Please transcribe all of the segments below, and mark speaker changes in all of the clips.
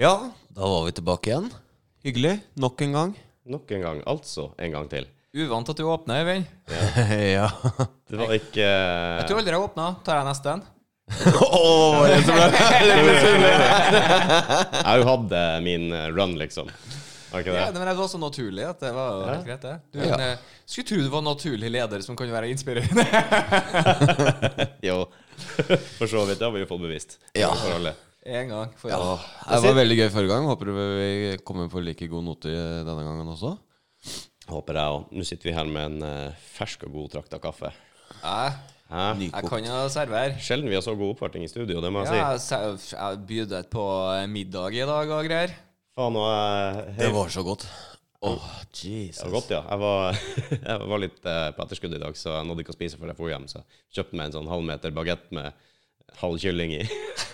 Speaker 1: Ja, da var vi tilbake igjen. Hyggelig. Nok en gang.
Speaker 2: Nok en gang. Altså en gang til.
Speaker 3: Uvant at du åpner, Øyvind.
Speaker 1: ja.
Speaker 2: Det var ikke eh,
Speaker 3: Jeg tror aldri jeg åpna. Tar jeg neste en?
Speaker 1: Åh, det er så bra.
Speaker 2: Jeg har jo hatt eh, min run, liksom. Har ikke
Speaker 3: Ja,
Speaker 2: det?
Speaker 3: men det var så naturlig at det var jo helt greit, det. Du,
Speaker 1: Ja.
Speaker 3: en, eh, skulle tro du var en naturlig leder som kan være inspirerende.
Speaker 2: Jo. For så vidt. Det har vi jo fått bevist.
Speaker 1: Ja.
Speaker 2: For alle.
Speaker 3: En gang. For
Speaker 1: Ja, det var veldig gøy forrige gang. Håper vi kommer på like god note denne gangen også.
Speaker 2: Håper jeg òg. Nå sitter vi her med en eh, fersk og god trakt av kaffe.
Speaker 3: Jeg,
Speaker 2: Hæ?
Speaker 3: jeg kan jo servere.
Speaker 2: Sjelden vi har så god oppvarting i studio, det må jeg
Speaker 3: Ja,
Speaker 2: si.
Speaker 3: jeg sa- jeg bydde på eh, middag i dag og greier.
Speaker 2: Faen, nå er jeg
Speaker 1: Det
Speaker 2: helt-
Speaker 1: var så godt. Åh,
Speaker 2: Det var
Speaker 1: Jesus.
Speaker 2: godt, ja. Jeg var, jeg var litt eh, på etterskudd i dag, så jeg nådde ikke å spise før jeg dro hjem. Så jeg kjøpte meg en sånn halvmeter bagett med halv kylling i.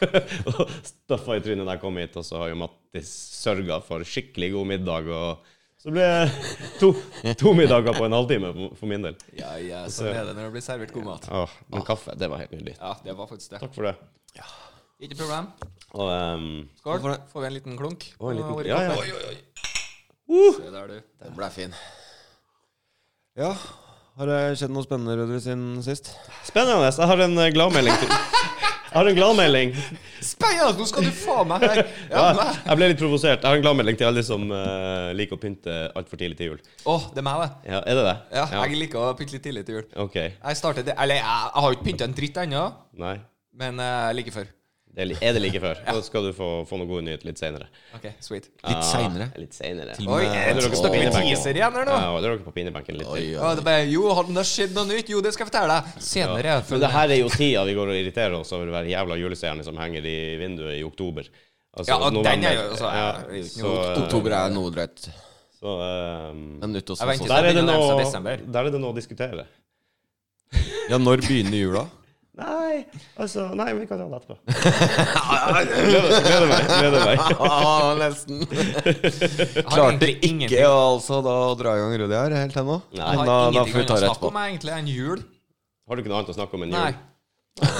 Speaker 2: og staffa i trynet da jeg kom hit. Og så har jo Mattis sørga for skikkelig god middag. Og så ble det to, to middager på en halvtime for- for min del.
Speaker 3: Ja, ja, sånn er det når det blir servert god mat.
Speaker 2: Åh, men kaffe, det var helt nydelig.
Speaker 3: Ja, det var faktisk det.
Speaker 2: Takk for det.
Speaker 3: Ikke problem.
Speaker 2: Og ehm,
Speaker 3: Skål. Får vi en liten klunk?
Speaker 2: Å, en liten-
Speaker 3: Over i
Speaker 2: ja, ja.
Speaker 3: koppen? Se der, du. Den ble fin.
Speaker 1: Ja, har det skjedd noe spennende, Rødvig, siden sist?
Speaker 2: spennende. Jeg har en eh, gladmelding til Jeg har en gladmelding.
Speaker 3: Spennende! Nå skal du faen meg her! Ja,
Speaker 2: Ja,
Speaker 3: meg.
Speaker 2: jeg ble litt provosert. Jeg har en gladmelding til alle som eh, liker å pynte altfor tidlig til jul.
Speaker 3: Å, det er meg, det.
Speaker 2: Ja, Er det det?
Speaker 3: Ja, Jeg liker å pynte litt tidlig til jul.
Speaker 2: Ok.
Speaker 3: Jeg startet det, Eller jeg, jeg har jo ikke pynta en dritt ennå,
Speaker 2: Nei.
Speaker 3: men eh, like før.
Speaker 2: Det er, li- er det like før. Da skal du få, få noen gode nyheter litt senere.
Speaker 3: OK, sweet.
Speaker 1: Litt seinere.
Speaker 2: Ah, litt senere.
Speaker 1: Til-
Speaker 3: Oi,
Speaker 1: Men- eh,
Speaker 3: jeg
Speaker 2: Holder dere
Speaker 3: tror vi
Speaker 2: på
Speaker 3: snakker med
Speaker 2: pinnebenken?
Speaker 3: teaser igjen her nå.
Speaker 2: Ja, holder dere på pinnebenken litt til?
Speaker 3: Ja, det bare, jo, har det skjedd noe nytt? Jo, det skal jeg fortelle deg senere.
Speaker 2: Men det her er jo tida vi går og irriterer oss over hver jævla julestjerne som henger i vinduet i oktober. Altså,
Speaker 3: Ja, og den
Speaker 2: november.
Speaker 3: er jo- altså,
Speaker 2: ja,
Speaker 3: ja,
Speaker 2: så, eh,
Speaker 1: Oktober er noe drøyt.
Speaker 2: så, ehm,
Speaker 1: Men nytt også,
Speaker 3: Jeg venter.
Speaker 1: sånn.
Speaker 2: der, er det
Speaker 3: begynner å nærme seg
Speaker 2: noe,
Speaker 3: desember.
Speaker 2: der er det noe å diskutere.
Speaker 1: Ja, når begynner jula?
Speaker 2: Nei, altså Nei, vi kan ta det etterpå. Gleder gleder meg. Gleder meg.
Speaker 1: ah, nesten.
Speaker 3: Jeg har
Speaker 1: Klarte
Speaker 3: egentlig
Speaker 1: ikke
Speaker 3: ingenting-
Speaker 1: altså da å dra i gang Rødvig her helt ennå.
Speaker 2: Nei.
Speaker 1: Men
Speaker 3: Jeg har
Speaker 1: da, da får vi ta
Speaker 3: ingenting annet å
Speaker 1: det
Speaker 3: snakke
Speaker 1: etterpå.
Speaker 3: om egentlig enn jul.
Speaker 2: Har du ikke noe annet å snakke om enn
Speaker 3: Nei.
Speaker 2: jul?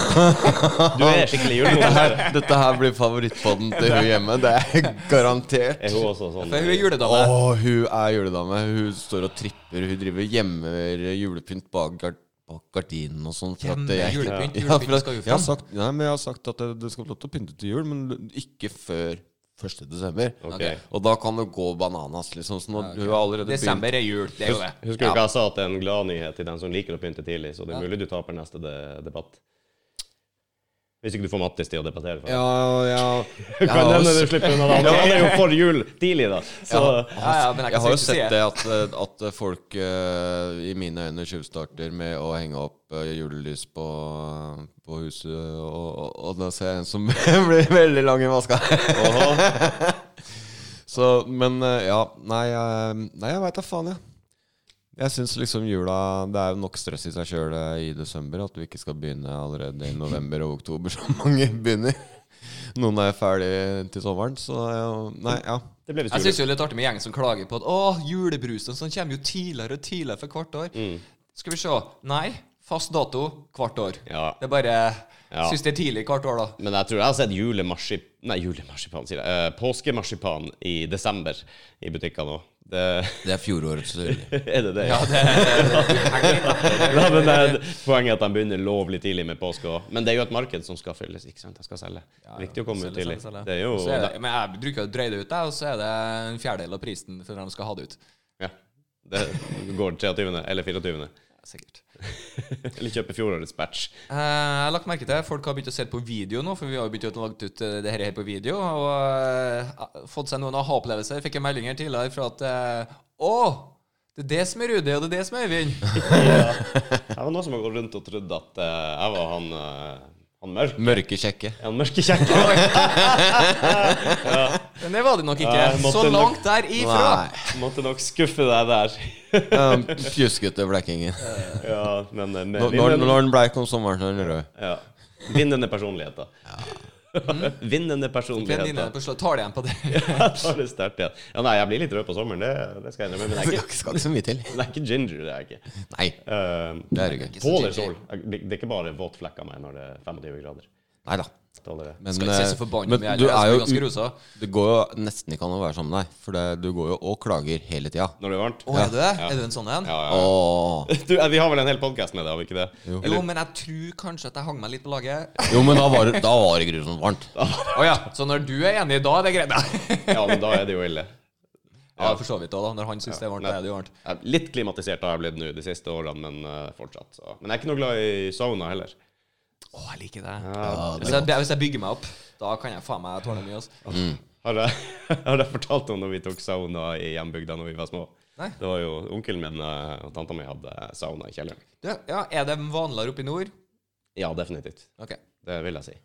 Speaker 2: Du er skikkelig julenisse.
Speaker 1: Dette her blir favorittpodden til hun hjemme. Det er garantert.
Speaker 2: Er hun også sånn?
Speaker 3: For hun er
Speaker 1: Å,
Speaker 3: juledame.
Speaker 1: hun er juledame. Hun står og tripper. Hun driver og gjemmer julepynt bak, gard bak gardinen og sånn. for at
Speaker 3: Gjemmer
Speaker 1: jeg-
Speaker 3: julepynt?
Speaker 1: Ja,
Speaker 3: Julepynt
Speaker 1: for at-
Speaker 3: skal jo
Speaker 1: Jeg har
Speaker 3: fram.
Speaker 1: sagt, nei, men jeg har sagt at det, det skal få lov til å pynte til jul, men ikke før 1. desember.
Speaker 2: Ok.
Speaker 3: Ok.
Speaker 1: Og da kan det gå bananas, liksom. Så nå, hun har allerede begynt.
Speaker 3: Desember er jul. Det er jo det.
Speaker 2: Husker du hva jeg sa at det er en gladnyhet til den som liker å pynte tidlig? Så det er mulig du taper neste de debatt. Hvis ikke du får Mattis til å debattere. For.
Speaker 1: Ja, ja.
Speaker 2: Du
Speaker 1: Jeg
Speaker 2: kan
Speaker 1: har,
Speaker 2: nevne det
Speaker 1: jo,
Speaker 2: slipper unna da. Han er jo for jul tidlig, da. Så
Speaker 3: Ja, ja, men jeg,
Speaker 1: jeg har jo
Speaker 3: kan si
Speaker 1: sett
Speaker 3: det.
Speaker 1: det at, at folk eh, i mine øyne tjuvstarter med å henge opp eh, julelys på, på huset, og, og, og da ser jeg en som blir veldig lang i maska.
Speaker 2: Åhå.
Speaker 1: Så, men eh, ja, nei, eh, nei jeg veit da faen, jeg. Jeg syns liksom jula Det er jo nok stress i seg sjøl i desember at du ikke skal begynne allerede i november og oktober, som mange begynner. Noen er ferdig til sommeren, så eh, Nei, ja.
Speaker 2: det ble visst
Speaker 3: Jeg
Speaker 2: jul.
Speaker 3: syns det er litt artig med gjengen som klager på at å, julebrusen sånn kommer jo tidligere og tidligere for hvert år.
Speaker 2: Mm.
Speaker 3: Skal vi se. Nei. Fast dato hvert år.
Speaker 2: Ja.
Speaker 3: Det er bare
Speaker 2: Ja.
Speaker 3: Syns det er tidlig hvert år, da.
Speaker 2: Men jeg tror jeg har sett julemarsip... Nei, julemarsipan, sier jeg. Eh, påskemarsipan i desember i butikkene òg. Det...
Speaker 1: Det er fjorårets jul.
Speaker 2: Er det det?
Speaker 3: Ja, det, det henger litt, da.
Speaker 2: Ja, men det er poenget er at de begynner lovlig tidlig med påske òg. Men det er jo et marked som skal fylles. ikke sant? Jeg skal selge. Viktig å komme ut
Speaker 3: Selge,
Speaker 2: tidlig.
Speaker 3: selge, selge.
Speaker 2: Det er jo
Speaker 3: Så er det, men jeg bruker å dreie det ut, jeg, og så er det en fjerdedel av prisen før de skal ha det ut.
Speaker 2: Ja. Det går 23. eller 24.
Speaker 3: Ja, Sikkert.
Speaker 2: Eller kjøper fjorårets batch.
Speaker 3: Eh, Jeg har lagt merke til at folk har begynt å se på video nå, for vi har jo begynt å lage ut eh, det her her på video. Og eh, fått seg noen aha-opplevelser. Fikk en melding her tidligere fra at eh, Å! Det er det som er Rudi, og det er det som er Øyvind.
Speaker 2: Jeg var noen som har gått rundt og trodd at eh, jeg var han, eh, han mørk.
Speaker 1: Mørke kjekke.
Speaker 2: Han mørke kjekke.
Speaker 3: Men det var det nok ikke.
Speaker 2: Nei, måtte
Speaker 3: Så
Speaker 2: nok-
Speaker 3: langt der ifra.
Speaker 2: Måtte nok skuffe deg der.
Speaker 1: Um, Pjuskete blekingen.
Speaker 2: Ja, men eh, med
Speaker 1: Når, når,
Speaker 2: vinnende-
Speaker 1: når den bleik om sommeren, så er den rød.
Speaker 2: ja. Vinnende personligheter. Vinnende
Speaker 3: Venninnene
Speaker 2: personligheter.
Speaker 3: på slå- Tar det igjen på det.
Speaker 2: Jeg tar det sterkt igjen. Ja, nei, jeg blir litt rød på sommeren, det, det skal jeg innrømme. Men jeg er ikke,
Speaker 1: Skal ikke så mye til.
Speaker 2: men jeg er ikke ginger, det er jeg ikke.
Speaker 1: Nei,
Speaker 2: Eh,
Speaker 1: det er det ikke.
Speaker 2: Pål er sol. Det det er ikke bare våtflekker meg når det er 25 grader.
Speaker 1: Nei da.
Speaker 2: Dårligere.
Speaker 1: Men,
Speaker 3: Skal ikke se
Speaker 1: eh,
Speaker 3: så forbanna
Speaker 1: men
Speaker 3: mye
Speaker 1: du
Speaker 3: heller.
Speaker 1: er
Speaker 3: Jeg
Speaker 1: jo
Speaker 3: er ganske rosa.
Speaker 1: ut- Det går jo nesten ikke an å være sammen med deg, for det, du går jo og klager hele tida.
Speaker 2: Når det er varmt?
Speaker 3: Å, er du det? Er du en sånn en?
Speaker 2: Ja, ja, ja.
Speaker 1: Åh.
Speaker 2: Du, eh, vi har vel en hel podkast med det, har vi ikke det?
Speaker 1: Jo.
Speaker 2: Eller,
Speaker 3: Jo, men jeg tror kanskje at jeg hang meg litt på laget.
Speaker 1: Jo, men da var, det- da var det grusomt varmt.
Speaker 3: Å ja, så når du er enig da, er det greit? ja,
Speaker 2: ja, men da er det jo ille.
Speaker 3: for så vidt da, da. Når han syns det er varmt, da er det jo varmt.
Speaker 2: Jeg er Litt klimatisert har jeg blitt nå de siste årene, men eh, fortsatt. Så. Men jeg er ikke noe glad i sauna heller.
Speaker 3: Å, jeg liker det.
Speaker 1: Ja,
Speaker 3: Hvis
Speaker 1: det,
Speaker 3: jeg, hvis jeg bygger meg opp, da kan jeg faen meg tåle mye. Altså.
Speaker 2: Har jeg, har jeg fortalt om når vi tok sauna i hjembygda når vi var små?
Speaker 3: Nei.
Speaker 2: Det var jo onkelen min eh, og tanta mi hadde sauna i kjelleren.
Speaker 3: Du, ja, er det vanligere oppe i nord?
Speaker 2: Ja, definitivt.
Speaker 3: Ok,
Speaker 2: Det vil jeg si.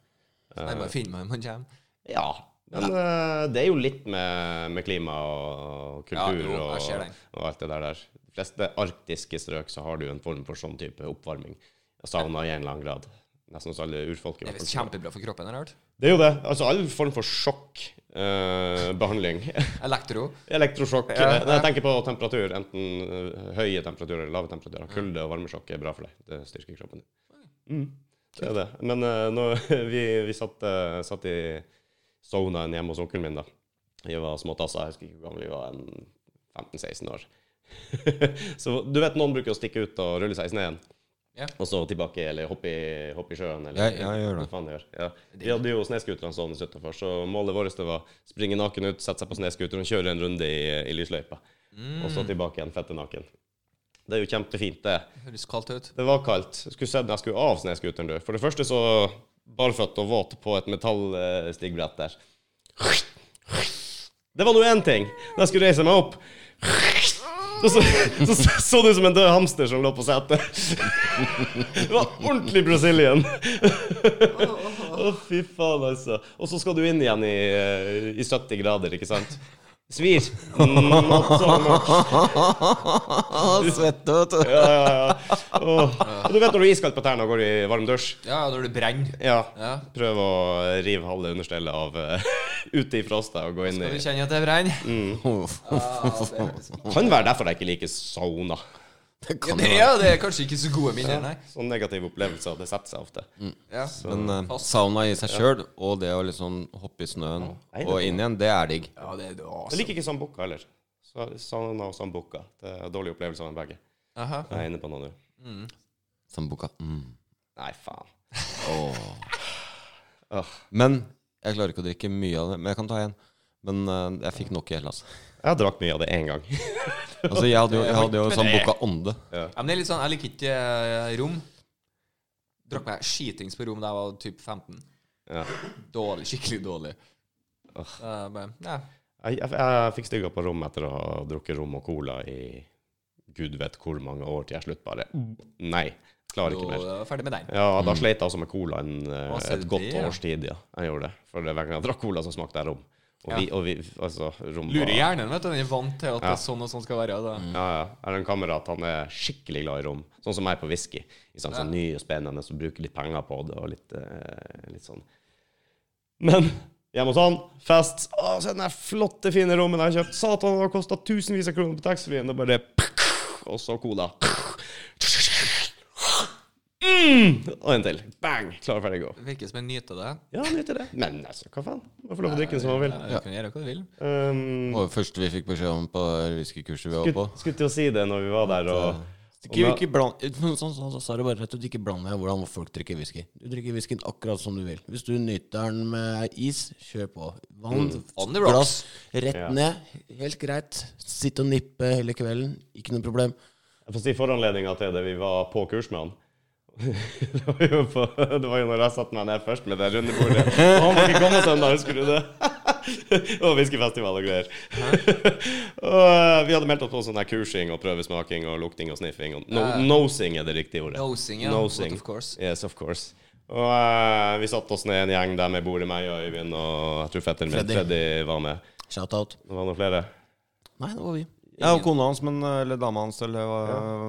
Speaker 3: så
Speaker 2: Eh,
Speaker 3: jeg bare finner meg om han kommer.
Speaker 2: Ja. Men eh, det er jo litt med, med klima og
Speaker 3: Ja,
Speaker 2: kultur
Speaker 3: jo, jeg ser
Speaker 2: og,
Speaker 3: den.
Speaker 2: og alt det der der. De fleste arktiske strøk så har du en form for sånn type oppvarming. Sauna i en eller annen grad. Nesten hos alle urfolk. i
Speaker 3: Det er
Speaker 2: hvert fall.
Speaker 3: visst kjempebra for kroppen, har jeg hørt.
Speaker 2: Det er jo det. Altså all form for sjokkbehandling.
Speaker 3: Elektro.
Speaker 2: Elektrosjokk.
Speaker 3: Ja,
Speaker 2: Når jeg tenker på temperatur, enten eh, høye temperaturer eller lave temperaturer, kulde og varmesjokk er bra for deg. Det styrker kroppen din. Mm. Det er det. Men eh, når vi, vi satt, eh, satt i saunaen hjemme hos onkelen min, da. Vi var små tasser, jeg husker ikke hvor gamle vi var, en 15-16 år. så du vet noen bruker å stikke ut og rulle seg i sneen,
Speaker 3: Ja.
Speaker 2: og så tilbake, eller hoppe i, hoppe i sjøen, eller
Speaker 1: Jeg- jeg gjør det.
Speaker 2: hva faen de gjør. Ja. Vi hadde jo snøscooterne sånn utenfor, så målet vårt det var springe naken ut, sette seg på snøscooteren, kjøre en runde i, i lysløypa, og så tilbake igjen fette naken. Det er jo kjempefint, det.
Speaker 3: Høres kaldt ut.
Speaker 2: Det var kaldt. Jeg skulle sett når jeg skulle av snøscooteren. du. For det første så barføtt og våt på et metallstigbrett der. Det var nå én ting. Da jeg skulle reise meg opp, så så, så, så, så det ut som en død hamster som lå på setet. Det var ordentlig Brazilian. Å, fy faen, altså. Og så skal du inn igjen i, eh, i 70 grader, ikke sant? Svir. Mm, not so much.
Speaker 1: Svette, vet du.
Speaker 2: Ja, ja, ja. Åh. Og du vet når du er iskald på tærne og går i varm dusj?
Speaker 3: Ja, når du brenner.
Speaker 2: Ja.
Speaker 3: Ja.
Speaker 2: Prøv å rive halve understellet av eh, ute i frosta og gå inn i
Speaker 3: Skal du kjenne at det brenner?
Speaker 2: Kan være derfor jeg ikke sånn, liker sauna.
Speaker 1: Det
Speaker 3: Ja,
Speaker 1: kan
Speaker 3: det,
Speaker 1: jo
Speaker 3: ja, det er kanskje ikke så gode minner, nei.
Speaker 2: Sånne Sånn negative opplevelser, det setter seg ofte.
Speaker 3: Ja.
Speaker 1: Men eh, sauna i seg sjøl, og det å liksom hoppe i snøen
Speaker 2: nei, det
Speaker 1: og
Speaker 2: er
Speaker 1: inn igjen, det er digg.
Speaker 3: Ja, det er det
Speaker 2: Jeg
Speaker 3: awesome.
Speaker 2: liker ikke sambukka heller. Så Sauna og sambukka. Det er dårlig opplevelse av dem begge.
Speaker 3: Aha. Mm.
Speaker 2: Jeg er inne på noe nå.
Speaker 1: Sambuca. Mm.
Speaker 2: Nei, faen.
Speaker 1: Åh.
Speaker 2: Åh.
Speaker 1: Men jeg klarer ikke å drikke mye av det. Men jeg kan ta en. Men eh, jeg fikk nok i Hellas.
Speaker 2: Jeg har drakk mye av det én gang.
Speaker 1: Altså, jeg hadde jo, jeg hadde jo sånn
Speaker 3: Men det-
Speaker 1: Sambuca ånde.
Speaker 3: Ja, men det er litt sånn, jeg liker ikke eh, rom. Drakk meg skitings på rom da jeg var typ 15.
Speaker 2: Ja.
Speaker 3: Dårlig, skikkelig dårlig. Eh, men, ja.
Speaker 2: Jeg, jeg, jeg fikk stygga på rom etter å ha drukket rom og cola i gud vet hvor mange år til jeg slutt bare
Speaker 3: Mm.
Speaker 2: Nei. Klarer
Speaker 3: Jo,
Speaker 2: ikke mer.
Speaker 3: jeg var ferdig med den.
Speaker 2: Ja, da slet jeg også med colaen eh,
Speaker 3: Å, se
Speaker 2: et godt
Speaker 3: det, ja.
Speaker 2: års tid, ja. Jeg gjorde det. For hver gang jeg drakk cola, så smakte jeg rom. Og
Speaker 3: Ja.
Speaker 2: vi, og vi altså, rom var-
Speaker 3: Lurer hjernen, vet du. Den er vant til at det
Speaker 2: Ja.
Speaker 3: er sånn og sånn skal være. Da.
Speaker 2: Ja, ja. Jeg har en kamerat, han er skikkelig glad i rom. Sånn som meg på whisky. Ikke sant? Sånn ny og spennende, og bruker litt penger på det, og litt, eh, litt sånn. Men hjemme hos han, fest. Å, se den der flotte, fine rommen jeg har kjøpt. Satan, det har kosta tusenvis av kroner på taxfree-en. Det bare Og så cola. Mm! Og en til. Bang! Klar, ferdig, gå.
Speaker 3: Det virker som jeg nyter det.
Speaker 2: Ja, nyter det. Men altså, hva faen? Må få lov å drikke den som man vil.
Speaker 3: Ja, Du kan gjøre hva du vil.
Speaker 2: Um,
Speaker 1: Det var det første vi fikk beskjed om på whiskykurset vi var på.
Speaker 2: skulle, skulle til å si det når vi var der, og
Speaker 3: eh,
Speaker 1: Ikke, ikke bland, sånn, sånn, sånn, så sa det bare rett ut. Ikke bland deg i hvordan folk drikker whisky. Du drikker whiskyen akkurat som du vil. Hvis du nyter den med is, kjør på. Vann,
Speaker 3: On the
Speaker 1: glass,
Speaker 3: rocks.
Speaker 1: rett
Speaker 2: Ja.
Speaker 1: ned. Helt greit. Sitt og nippe hele kvelden. Ikke noe problem.
Speaker 2: Jeg får si foranledninga til det. Vi var på kurs med han. det, var jo på, det var jo når jeg satte meg ned først med det runde bordet. Og han var ikke kommet ennå, husker du det? og whiskyfestival og greier. og eh, vi hadde meldt oss på sånn her kursing og prøvesmaking og lukting og sniffing. Og no, nosing er det riktige ordet.
Speaker 3: Nosing, ja.
Speaker 2: Nosing.
Speaker 3: But of course.
Speaker 2: Yes, of course. Og eh, vi satte oss ned en gjeng der med bordet meg og Øyvind og jeg tror fetteren min
Speaker 1: Freddy.
Speaker 2: Freddy var med.
Speaker 1: Shout-out.
Speaker 2: Det var noen flere.
Speaker 1: Nei, det var vi. Ja, og kona hans, eh, eller dama hans, eller hva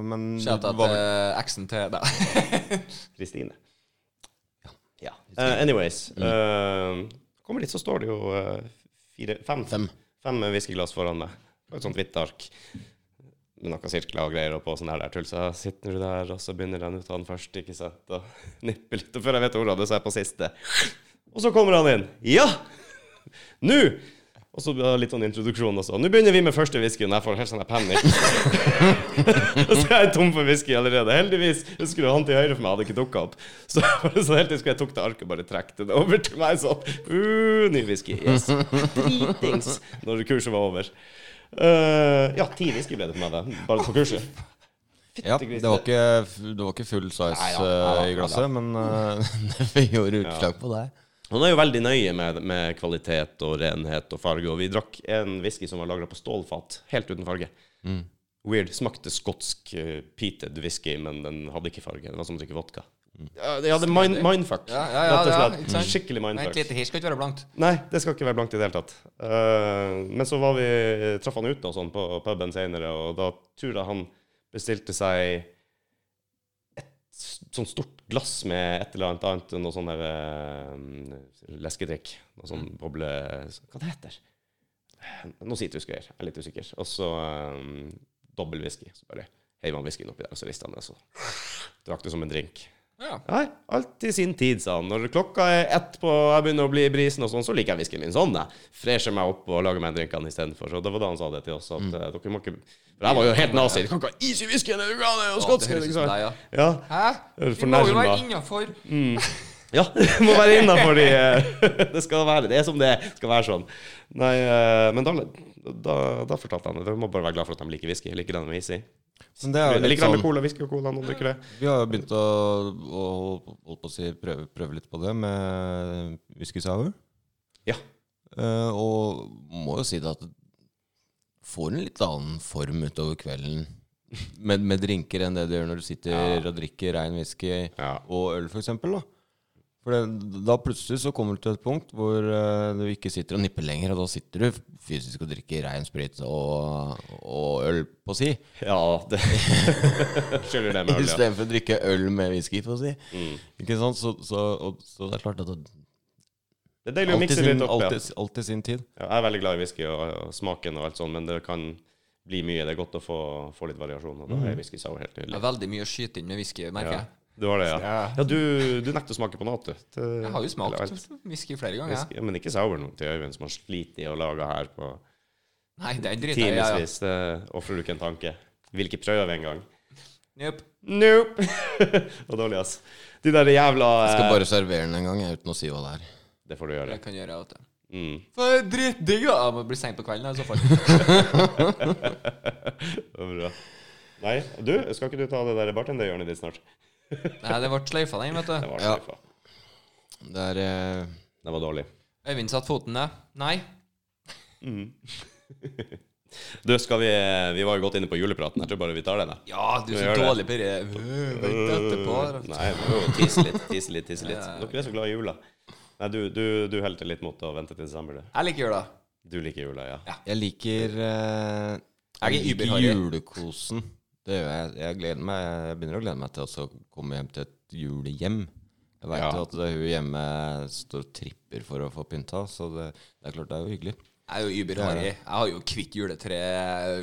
Speaker 1: Men
Speaker 3: Shout out til eksen til deg.
Speaker 2: Kristine. Ja. Eh, anyways. eh, kommer dit, så står det jo eh, fire, fem,
Speaker 1: Fem.
Speaker 2: fem whiskyglass foran meg. Og Et sånt hvitt ark med noen sirkler og greier og på sånn her der tull. Så jeg sitter nå der, og så begynner den ut av den første, ikke sant. Og nipper litt. Og før jeg vet ordet av det, så er jeg på siste. Og så kommer han inn. Ja! Nå! Og så eh, litt sånn introduksjon også. Nå begynner vi med første whiskyen. Jeg får helt sånn her panikk. Og så er jeg tom for whisky allerede. Heldigvis husker du han til høyre for meg hadde ikke dukka opp. Så, så helt til jeg tok det arket og bare trekte det over til meg sånn. Uh, ny whisky. Yes. Dritings. Når kurset var over. Eh, ja, ti whisky ble det for meg, da. Bare på kurset.
Speaker 1: Ja, det var ikke, det var ikke full size
Speaker 2: Nei, ja, ja,
Speaker 1: eh, i
Speaker 2: ja,
Speaker 1: glasset, men eh, det gjorde utslag på deg.
Speaker 2: Han er jo veldig nøye med, med kvalitet og renhet og farge, og vi drakk en whisky som var lagra på stålfat, helt uten farge. Weird. Smakte skotsk eh, peated whisky, men den hadde ikke farge. Det var som å drikke vodka. Ja, det hadde mind, mindfuck,
Speaker 3: Ja, ja, ja,
Speaker 2: rett og
Speaker 3: ja,
Speaker 2: slett.
Speaker 3: ikke sant?
Speaker 2: Skikkelig
Speaker 3: Nei, et
Speaker 2: mindfuck.
Speaker 3: lite her skal ikke være blankt.
Speaker 2: Nei, det skal ikke være blankt i det hele tatt. Eh, men så var vi, traff han ute og sånn på puben senere, og da tror jeg han bestilte seg et s- sånn stort glass med et eller annet annet enn noe sånn der eh, leskedrikk. Noe sånn boble... Hva det heter Noe sitrusgreier. Jeg er litt usikker. Og så eh, dobbel whisky. Så bare heiv han whiskyen oppi der, og så rista han den, og så drakk det som en drink.
Speaker 3: Ja.
Speaker 2: Nei, alt i sin tid, sa han. Når klokka er ett på jeg begynner å bli brisen og sånn, så liker jeg whiskyen min sånn, jeg. Fresher meg opp og lager meg en drink av den istedenfor. Så det var da han sa det til oss,
Speaker 3: Mm.
Speaker 2: at eh, dere må ikke For jeg var jo helt nazi. Du kan ikke ha is i whiskyen, er du gal? Det er jo
Speaker 3: Ja, det
Speaker 2: skotsk,
Speaker 3: høres
Speaker 2: ikke
Speaker 3: ut som
Speaker 2: sant?
Speaker 3: deg, ja.
Speaker 2: Ja.
Speaker 3: Hæ?
Speaker 2: Er du
Speaker 3: Vi må jo
Speaker 2: fornærmet?
Speaker 3: være innafor.
Speaker 2: Mm. Ja, det må være innafor de eh, Det skal være Det er som det er, skal være sånn. Nei, eh, men da, da, da fortalte han det. Du må bare være glad for at de liker whisky. Jeg Liker den med is i.
Speaker 1: Men det er jo
Speaker 2: Jeg
Speaker 1: litt
Speaker 2: liker den med
Speaker 1: sånn,
Speaker 2: cola, whisky og cola. Noen drikker det.
Speaker 1: vi har jo begynt å, å holdt på å si, prøve, prøve litt på det med whisky sour.
Speaker 2: Ja.
Speaker 1: Eh, og må jo si det at det får en litt annen form utover kvelden med, med drinker enn det du gjør når du sitter og drikker rein whisky
Speaker 2: Ja.
Speaker 1: og øl, for eksempel, da. For det, da plutselig så kommer du til et punkt hvor eh, du ikke sitter og nipper lenger, og da sitter du fysisk og drikker rein sprit og, og øl, på å si.
Speaker 2: Ja, det Skylder det med øl, ja. Mm.
Speaker 1: Istedenfor å drikke øl med whisky, på å si. Ikke sant? Så, så, og, så det er klart at det,
Speaker 2: Det er deilig å
Speaker 1: alt, i
Speaker 2: mikse
Speaker 1: sin,
Speaker 2: litt opp.
Speaker 1: alt,
Speaker 2: ja.
Speaker 1: i, alt i sin tid.
Speaker 2: Ja, jeg er veldig glad i whisky og, og smaken og alt sånt, men det kan bli mye. Det er godt å få, få litt variasjon, og da er whisky sour helt
Speaker 3: Det
Speaker 2: nydelig.
Speaker 3: er veldig mye å skyte inn med whisky, merker
Speaker 2: Ja.
Speaker 3: jeg.
Speaker 2: Du har det, ja. Ja, du, du nekter å smake på noe, du. Det-
Speaker 3: Jeg har jo
Speaker 2: eller alt.
Speaker 3: smakt whisky flere ganger. jeg.
Speaker 2: Whisky, ja, men ikke sour nå til Øyvind, som har slitt i å lage her på
Speaker 3: Nei, den driter jeg i. Ja, ja.
Speaker 2: timevis. Det ofrer du ikke en tanke. Vil ikke prøve engang.
Speaker 3: Nope.
Speaker 2: Nope! Det var dårlig, ass. De der jævla
Speaker 1: Jeg skal
Speaker 2: eh,
Speaker 1: bare servere den en gang jeg, uten å si hva det er.
Speaker 2: Det får du
Speaker 3: Det
Speaker 2: gjøre.
Speaker 3: kan jeg gjøre, vet du.
Speaker 2: Mm.
Speaker 3: For det er Drittdigg! da. Jeg må bli seint på kvelden da, i så fall.
Speaker 2: Det var bra. Nei, du, skal ikke du ta det der bartenderhjørnet ditt snart?
Speaker 3: Nei, det ble sløyfa, den, vet
Speaker 2: Det
Speaker 3: du.
Speaker 2: var,
Speaker 1: Ja.
Speaker 2: sløyfa.
Speaker 1: Det er eh,
Speaker 2: det var dårlig.
Speaker 3: Øyvind satte foten ned. Nei.
Speaker 2: Du, skal vi Vi var jo godt inne på julepraten. Jeg tror bare vi tar den, jeg.
Speaker 3: Ja, du er så
Speaker 2: Gjør det.
Speaker 3: dårlig på det. Øh, Vent etterpå. da.
Speaker 2: Nei, vi må jo tisse litt, tisse litt, tisse litt. Dere er så glad i jula. Nei, du, du, du helte litt mot å vente til desember, du.
Speaker 3: Jeg liker jula.
Speaker 2: Du liker jula, ja.
Speaker 1: Jeg liker eh, Jeg
Speaker 3: Jeg er
Speaker 1: liker
Speaker 3: überharry.
Speaker 1: julekosen. Det gjør jeg. Jeg, gleder meg, jeg begynner å glede meg til å så komme hjem til et julehjem. Jeg veit
Speaker 2: Ja.
Speaker 1: jo at det er hun hjemme står og tripper for å få pynta, så det, det er klart det er jo hyggelig.
Speaker 3: Jeg er jo überharry. Jeg har jo hvitt juletre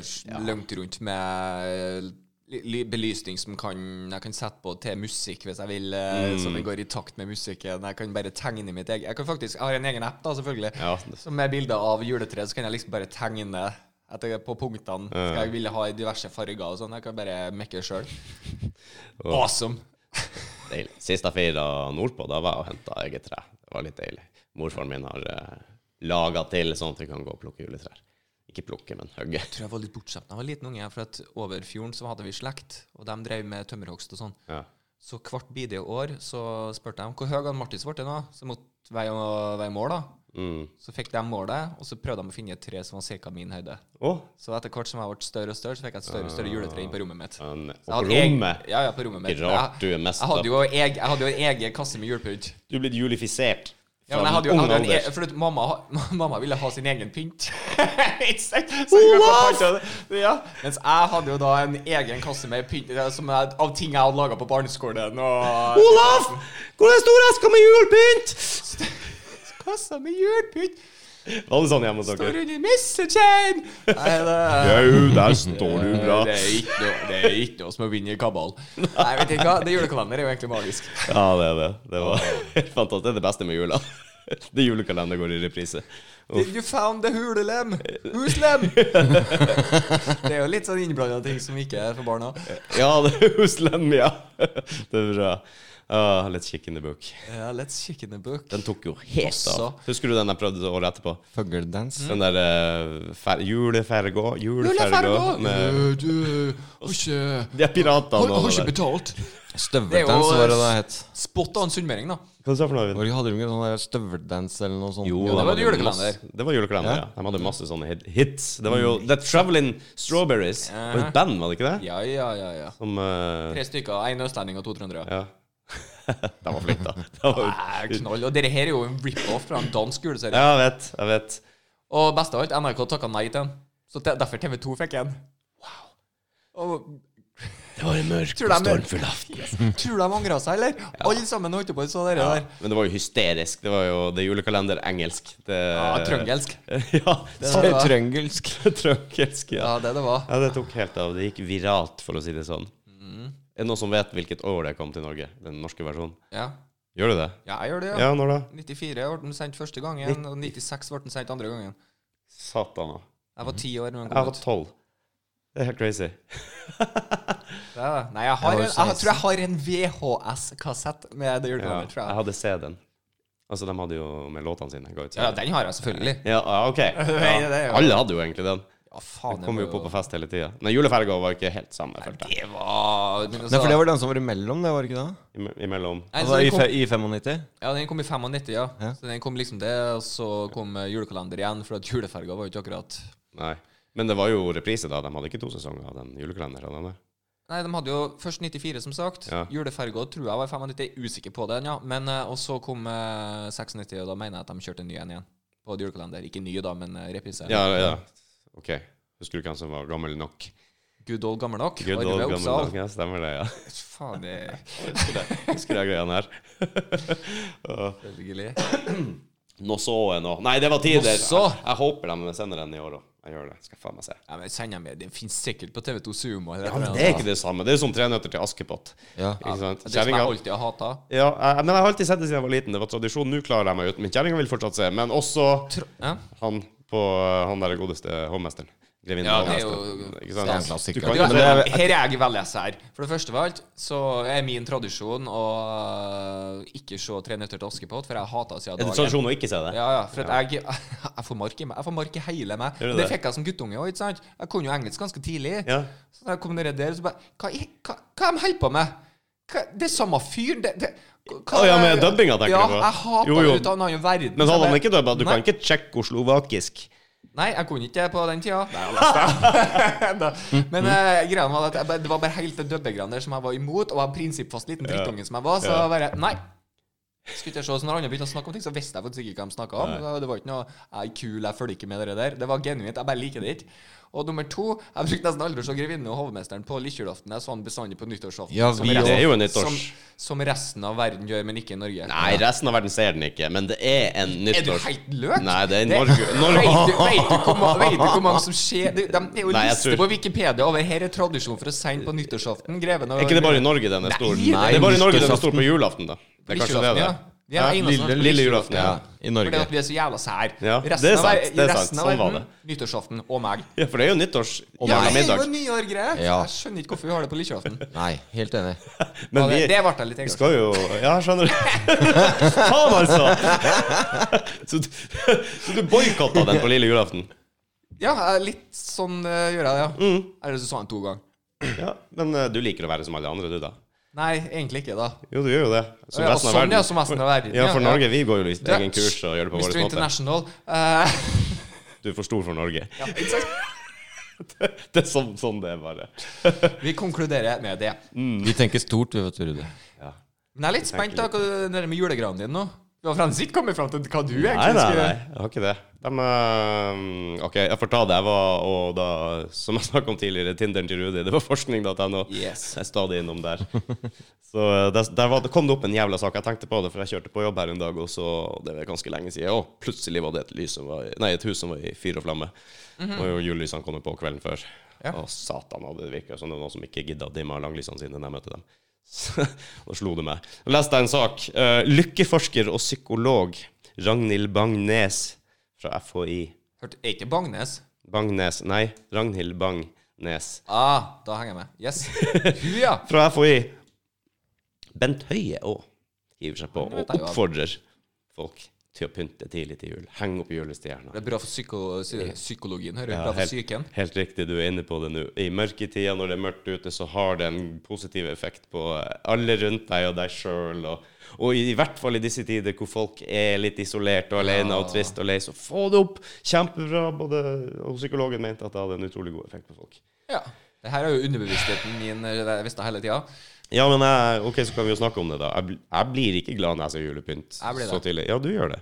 Speaker 3: s- langt rundt med li- li- belysning som kan, jeg kan sette på til musikk hvis jeg vil, eh, så det går i takt med musikken. Jeg kan bare tegne mitt eget. Jeg kan faktisk, jeg har en egen app, da, selvfølgelig,
Speaker 2: Ja.
Speaker 3: som er bilder av juletreet. Så kan jeg liksom bare tegne etter, på punktene. Skal jeg ville ha i diverse farger og sånn. Jeg kan bare mekke sjøl. Awesome!
Speaker 2: Deilig. Sist jeg feira nordpå, da var jeg og henta eget tre. Det var litt deilig. Morfaren min har eh, laga til sånn at vi kan gå og plukke juletrær. Ikke plukke, men hogge.
Speaker 3: Jeg tror jeg var litt bortskjemt da jeg var liten unge, for at over fjorden så hadde vi slekt, og de drev med tømmerhogst og sånn.
Speaker 2: Ja.
Speaker 3: Så hvert bidige år så spurte jeg om hvor høy han Martis ble nå, så måtte veie veie mål, da.
Speaker 2: Mm.
Speaker 3: Så fikk de målet, og så prøvde de å finne et tre som var ca. min høyde.
Speaker 2: Å,
Speaker 3: Så etter hvert som jeg ble større og større, så fikk jeg et større og større juletre inn på rommet mitt.
Speaker 2: men- Ah. og
Speaker 3: Jeg
Speaker 2: på
Speaker 3: hadde eg-
Speaker 2: rommet
Speaker 3: Ja, ja, på rommet mitt.
Speaker 2: Ikke rart
Speaker 3: Jeg-
Speaker 2: du er mest
Speaker 3: Jeg hadde jo eg- jeg hadde jo en egen kasse med julepynt.
Speaker 2: Du er blitt julifisert.
Speaker 3: Ja, men jeg hadde jo,
Speaker 2: Fra
Speaker 3: jeg hadde
Speaker 2: ung
Speaker 3: en,
Speaker 2: alder.
Speaker 3: e- for at mamma, mamma ville ha sin egen pynt. Ikke sant? Så jeg gikk og pyntet det. ja. Mens jeg hadde jo da en egen kasse med pynt eh, som jeg, av ting jeg hadde laga på barneskolen. Og
Speaker 2: Olaf! Hvor er stor eske med julepynt?
Speaker 3: kassa med julepynt
Speaker 2: Var det sånn hjemme hos
Speaker 3: står
Speaker 2: dere?
Speaker 3: under missekjein! Nei, det
Speaker 2: Jau, der står du
Speaker 3: det er ikke noe, det er ikke noe som å vinne i kabal. Nei, vet du hva? Det julekalender er jo egentlig magisk.
Speaker 2: Ja, det er det. Det var helt fantastisk. Det er det beste med jula. Det julekalender går i reprise.
Speaker 3: Did you found the hulelem? Huslem! det er jo litt sånn innblanda ting som ikke er for barna.
Speaker 2: Ja, det er Huslem, ja. Det er bra. Ah, let's kick in the book.
Speaker 3: Ja, let's kick in the book.
Speaker 2: Den tok jo helt
Speaker 3: Også.
Speaker 2: av. Husker du den jeg prøvde året etterpå?
Speaker 1: Fugledance.
Speaker 2: Den der eh, fer juleferga Juleferga med
Speaker 3: Eh, du har ikke
Speaker 2: de er piratene
Speaker 3: har- har
Speaker 2: og
Speaker 3: ikke
Speaker 2: det der.
Speaker 3: betalt.
Speaker 1: Støveldance, var det det het.
Speaker 3: Spot on sunnmøring, da.
Speaker 2: Hva sa du for noe? Øyvind?
Speaker 1: Hvor hadde du ikke sånn der støveldance eller noe sånt?
Speaker 2: Jo,
Speaker 3: det
Speaker 2: de
Speaker 3: var
Speaker 2: hadde
Speaker 3: julekalender.
Speaker 2: masse- Det var julekalender, ja. De hadde masse sånne hit- hits. Det var jo The Traveling Strawberries. Det var et band, var det ikke det?
Speaker 3: Ja, ja, ja. ja
Speaker 2: Som eh,
Speaker 3: Tre stykker. Én østlending og to trøndere.
Speaker 2: Ja. De var flinke, da. De var-
Speaker 3: Nei, Knall. Og dette her er jo en rip-off fra en dansk juleserie.
Speaker 2: Ja, jeg vet. Jeg vet.
Speaker 3: Og best av alt, NRK takka nei til den. Så te- derfor TV2 fikk en. Wow. Og
Speaker 2: Det var en mørk
Speaker 3: Tror og de- stormfull tror du de angra seg, eller? Alle sammen holdt på og så dere der.
Speaker 2: Men det var jo hysterisk. Det var jo det er julekalender engelsk. Det,
Speaker 3: Ja, trøngelsk.
Speaker 2: ja,
Speaker 3: var det.
Speaker 1: Trøngelsk.
Speaker 2: trøngelsk, ja.
Speaker 3: Ja, det det var.
Speaker 2: ja. Det tok helt av. Det gikk viralt, for å si det sånn. Er det noen som vet hvilket år det kom til Norge? Den norske versjonen?
Speaker 3: Ja,
Speaker 2: Gjør det det?
Speaker 3: ja jeg gjør det, ja.
Speaker 2: Ja, når da?
Speaker 3: 94 ble den sendt første gangen, og 96 ble den sendt andre gangen.
Speaker 2: Satan, da.
Speaker 3: Jeg var ti år da den
Speaker 2: Jeg
Speaker 3: kom
Speaker 2: var
Speaker 3: ut.
Speaker 2: tolv. Det er helt crazy.
Speaker 3: Ja, nei, jeg, har
Speaker 1: Jeg var
Speaker 3: en, jeg
Speaker 1: 16.
Speaker 3: tror jeg har en VHS-kassett med det
Speaker 2: Ja,
Speaker 3: julekalenderen,
Speaker 2: jeg
Speaker 3: tror jeg.
Speaker 2: hadde CD-en. Altså, de hadde jo med låtene sine. Ga ut
Speaker 3: Ja,
Speaker 2: CD.
Speaker 3: den har jeg selvfølgelig.
Speaker 2: Ja, ja, OK.
Speaker 3: det er
Speaker 2: Ja.
Speaker 3: jo-
Speaker 2: Alle hadde jo egentlig den.
Speaker 3: Ja,
Speaker 2: Den
Speaker 3: faen. jeg
Speaker 2: kom
Speaker 3: må
Speaker 2: jo på på fest hele tida. Men juleferga var ikke helt samme, følte jeg.
Speaker 3: Det var men
Speaker 1: Nei,
Speaker 3: altså-
Speaker 1: for det var den som var imellom, det var ikke det?
Speaker 2: Ime- Imellom.
Speaker 3: Nei, så
Speaker 1: Altså,
Speaker 3: den
Speaker 1: i,
Speaker 3: kom-
Speaker 1: fe, I 95?
Speaker 3: Ja, den kom i 95, ja.
Speaker 1: Ja.
Speaker 3: Så den kom liksom det, og så kom eh, julekalender igjen, for at juleferga var jo ikke akkurat
Speaker 2: Nei. Men det var jo reprise, da. De hadde ikke to sesonger av den julekalenderen. hadde de det?
Speaker 3: Nei, de hadde jo først 94, som sagt.
Speaker 2: Ja.
Speaker 3: Juleferga tror jeg var i 95, jeg er usikker på den, ja. Men, eh, og så kom eh, 96, og da mener jeg at de kjørte en ny en igjen. På et julekalender. Ikke ny, da, men eh, reprise.
Speaker 2: Ja, ja. OK. Husker du hvem som var gammel nok?
Speaker 3: Good old gammel nok.
Speaker 2: Good
Speaker 3: Arve
Speaker 2: old gammel
Speaker 3: Oppsal.
Speaker 2: nok. Ja, stemmer det, ja.
Speaker 3: Faen, det er
Speaker 2: Husker jeg greiene her. Åh.
Speaker 3: selvfølgelig.
Speaker 2: Nå så jeg nå. Nei, det var tider.
Speaker 3: Nå så.
Speaker 2: Jeg, jeg håper de sender den i år òg. Jeg gjør det. Skal faen meg se.
Speaker 3: Ja, men send dem med. Det fins sikkert på TV2 Sumo. eller
Speaker 2: Ja,
Speaker 3: et
Speaker 2: men
Speaker 3: eller
Speaker 2: det er
Speaker 3: annet,
Speaker 2: ikke det samme. Det er jo som Tre nøtter til Askepott.
Speaker 1: Ja.
Speaker 2: Ikke sant?
Speaker 3: da. Det som jeg
Speaker 2: Kjerringa
Speaker 3: alltid har hata.
Speaker 2: ja, jeg, Men jeg har alltid sett det siden jeg var liten. Det var tradisjon. Nå klarer jeg meg uten. Men kjerringa vil fortsatt se. Men også
Speaker 3: Ja.
Speaker 2: han på eh, han der godeste hovmesteren. Grevinnen
Speaker 3: Ja,
Speaker 2: og
Speaker 3: det er
Speaker 2: hovmesteren.
Speaker 3: jo-
Speaker 2: Ikke
Speaker 1: det er en
Speaker 2: sant?
Speaker 1: klassiker.
Speaker 2: Du kan
Speaker 3: Ja,
Speaker 2: ikke se-
Speaker 3: her her er jeg veldig sær. For det første av alt så er min tradisjon å øh, ikke se Tre nøtter til Askepott, for jeg hata siden
Speaker 2: Er det
Speaker 3: dag én.
Speaker 2: tradisjon å ikke se det?
Speaker 3: Ja, ja, for at jeg, jeg får mark i meg. Jeg får mark i hele meg.
Speaker 2: Gjør du
Speaker 3: det,
Speaker 2: det?
Speaker 3: fikk jeg som guttunge òg, ikke sant? Jeg kunne jo engelsk ganske tidlig.
Speaker 2: Ja.
Speaker 3: Så da jeg kom ned der, så bare Hva, i- hva, hva de holder på med? Hva, det er samme fyr det, det, hva-
Speaker 2: Å, ja, med dubbinga, tenker
Speaker 3: ja,
Speaker 2: du på?
Speaker 3: jeg hater
Speaker 2: Jo, jo.
Speaker 3: det ut av en annen verden.
Speaker 2: Men
Speaker 3: så
Speaker 2: så hadde han
Speaker 3: jeg
Speaker 2: ikke dubba. Du
Speaker 3: Nei.
Speaker 2: kan ikke tsjekkoslovakisk.
Speaker 3: Nei, jeg kunne ikke det på den tida. Da. Men eh, greia var at jeg, bare- det var bare helt det dubbegreiene der som jeg var imot, og jeg var prinsippfast liten drittunge som jeg var, så
Speaker 2: Ja.
Speaker 3: bare Nei. Skulle ikke se så Når andre begynte å snakke om ting, så visste jeg faktisk ikke hva de snakka om. Det var ikke noe Jeg er kul, jeg følger ikke med det der. Det var genuint. Jeg bare liker det ikke. Og nummer to Jeg brukte nesten aldri å se Grevinnen og hovmesteren på lillejulaften. Jeg så han bestandig på nyttårsaften.
Speaker 1: Ja,
Speaker 3: som
Speaker 1: vi
Speaker 3: resten-
Speaker 2: Det er jo en
Speaker 3: som,
Speaker 2: nyttårs...
Speaker 3: som resten av verden gjør, men ikke i Norge.
Speaker 2: Nei, resten av verden ser den ikke, men det er en
Speaker 3: Er du
Speaker 2: nyttårs...
Speaker 3: helt løk?
Speaker 2: Nei, det er
Speaker 3: Det-
Speaker 2: Norge. Norge.
Speaker 3: Vet du, vet du, hvor, ma- vet du hvor mange som skjer Det de er jo
Speaker 2: Nei, jeg
Speaker 3: liste
Speaker 2: tror-
Speaker 3: på Wikipedia over her er tradisjon for å sende på nyttårsaften. Greven og
Speaker 2: Er ikke det bare i Norge den er stor?
Speaker 3: Nei,
Speaker 2: det er bare i Norge den er
Speaker 1: nyttårsaften.
Speaker 2: stor på julaften, da. Det er kanskje det det
Speaker 3: Ja.
Speaker 2: er.
Speaker 3: Vi er eneste som har
Speaker 2: lille,
Speaker 3: på
Speaker 2: lille julaften, ja.
Speaker 1: Ja, i
Speaker 3: Fordi
Speaker 1: Norge.
Speaker 3: at vi er så jævla sær.
Speaker 2: Ja, det er
Speaker 3: resten av,
Speaker 2: sant,
Speaker 3: ver-
Speaker 2: det er
Speaker 3: resten
Speaker 2: sant.
Speaker 3: av
Speaker 2: Sånn var
Speaker 3: verden, nyttårsaften og meg.
Speaker 2: ja. For det er jo nyttårs
Speaker 1: Ja,
Speaker 2: jævla
Speaker 1: meg.
Speaker 3: det er jo
Speaker 2: middag.
Speaker 3: en nyårgreie.
Speaker 1: Ja.
Speaker 3: Jeg skjønner ikke hvorfor vi har det på lillejulaften.
Speaker 1: Nei, helt enig.
Speaker 3: Ja,
Speaker 2: Men
Speaker 3: det,
Speaker 2: vi
Speaker 3: det ble jeg litt engasjert.
Speaker 2: skal jo Ja, skjønner du. Faen, altså! Så du, så du boikotta den på lille julaften?
Speaker 3: Ja, jeg er litt sånn eh, gjør jeg det, ja.
Speaker 2: Mm.
Speaker 3: Eller så sa han to ganger.
Speaker 2: Ja, men eh, du liker å være som alle andre, du, da?
Speaker 3: Nei, egentlig ikke, da.
Speaker 2: Jo, du gjør jo det.
Speaker 3: Ja, og sånn, ja, som resten av verden,
Speaker 2: Ja,
Speaker 3: ja,
Speaker 2: for
Speaker 3: ja.
Speaker 2: Norge, vi går jo i
Speaker 3: Du er-
Speaker 2: egen kurs og gjør det på
Speaker 3: Mr.
Speaker 2: vår måte.
Speaker 3: International. eh,
Speaker 2: Du er for stor for Norge.
Speaker 3: ja, ikke sant?
Speaker 2: Det er sånn, sånn det er bare.
Speaker 3: Vi konkluderer med det.
Speaker 1: Vi tenker stort, vi, vet du, Rudi.
Speaker 2: Ja.
Speaker 3: Men jeg er litt spent da, hva det der med julegranen din nå. Du har fremdeles ikke kommet fram til hva du egentlig
Speaker 2: Nei, nei,
Speaker 3: skulle
Speaker 2: nei, jeg har ikke det. De, eh, ok, jeg får ta det. Jeg var, og da, som jeg snakket om tidligere, Tinderen til Rudi, det var forskning.no.
Speaker 3: Yes.
Speaker 2: Jeg er stadig innom der. Så eh, der, der var, det kom det opp en jævla sak. Jeg tenkte på det, for jeg kjørte på jobb her en dag, og så, det er ganske lenge siden, og plutselig var det et, lys som var, i- nei, et hus som var i fyr og flamme. Og jo, julelysene kom jo på kvelden før.
Speaker 3: Ja.
Speaker 2: Å, satan, hadde det virket som det var noen som ikke gidda å dimme av langlysene sine når jeg møtte dem. Så, da slo det meg. Jeg leste en sak. eh, lykkeforsker og psykolog Ragnhild Bangnes fra FHI.
Speaker 3: Hørte, er ikke Bangnes?
Speaker 2: Bangnes, nei, Ragnhild Bangnes
Speaker 3: Ah, da henger jeg med. Yes. Hun, ja.
Speaker 2: fra FHI. Bent Høie òg hiver seg på
Speaker 3: vet
Speaker 2: og
Speaker 3: jeg jo at-
Speaker 2: oppfordrer folk til å pynte tidlig til jul. Heng opp julestjerna.
Speaker 3: Det er bra for psyko, psy- psykologien, hører du.
Speaker 2: Ja,
Speaker 3: bra for
Speaker 2: helt-
Speaker 3: psyken.
Speaker 2: Helt riktig, du er inne på det nå. I mørketida, når det er mørkt ute, så har det en positiv effekt på eh, alle rundt deg og deg sjøl. Og, og i, i hvert fall i disse tider hvor folk er litt isolert og alene og trist og lei, så få det opp! Kjempebra. Både, og psykologen mente at det hadde en utrolig god effekt på folk.
Speaker 3: Ja. Det her er jo underbevisstheten min eh, jeg visste hele tida.
Speaker 2: Ja, men jeg, ok, så kan vi jo snakke om det, da. Jeg, bl- jeg blir ikke glad når jeg ser julepynt
Speaker 3: Jeg blir det.
Speaker 2: så tidlig. Ja, du gjør det.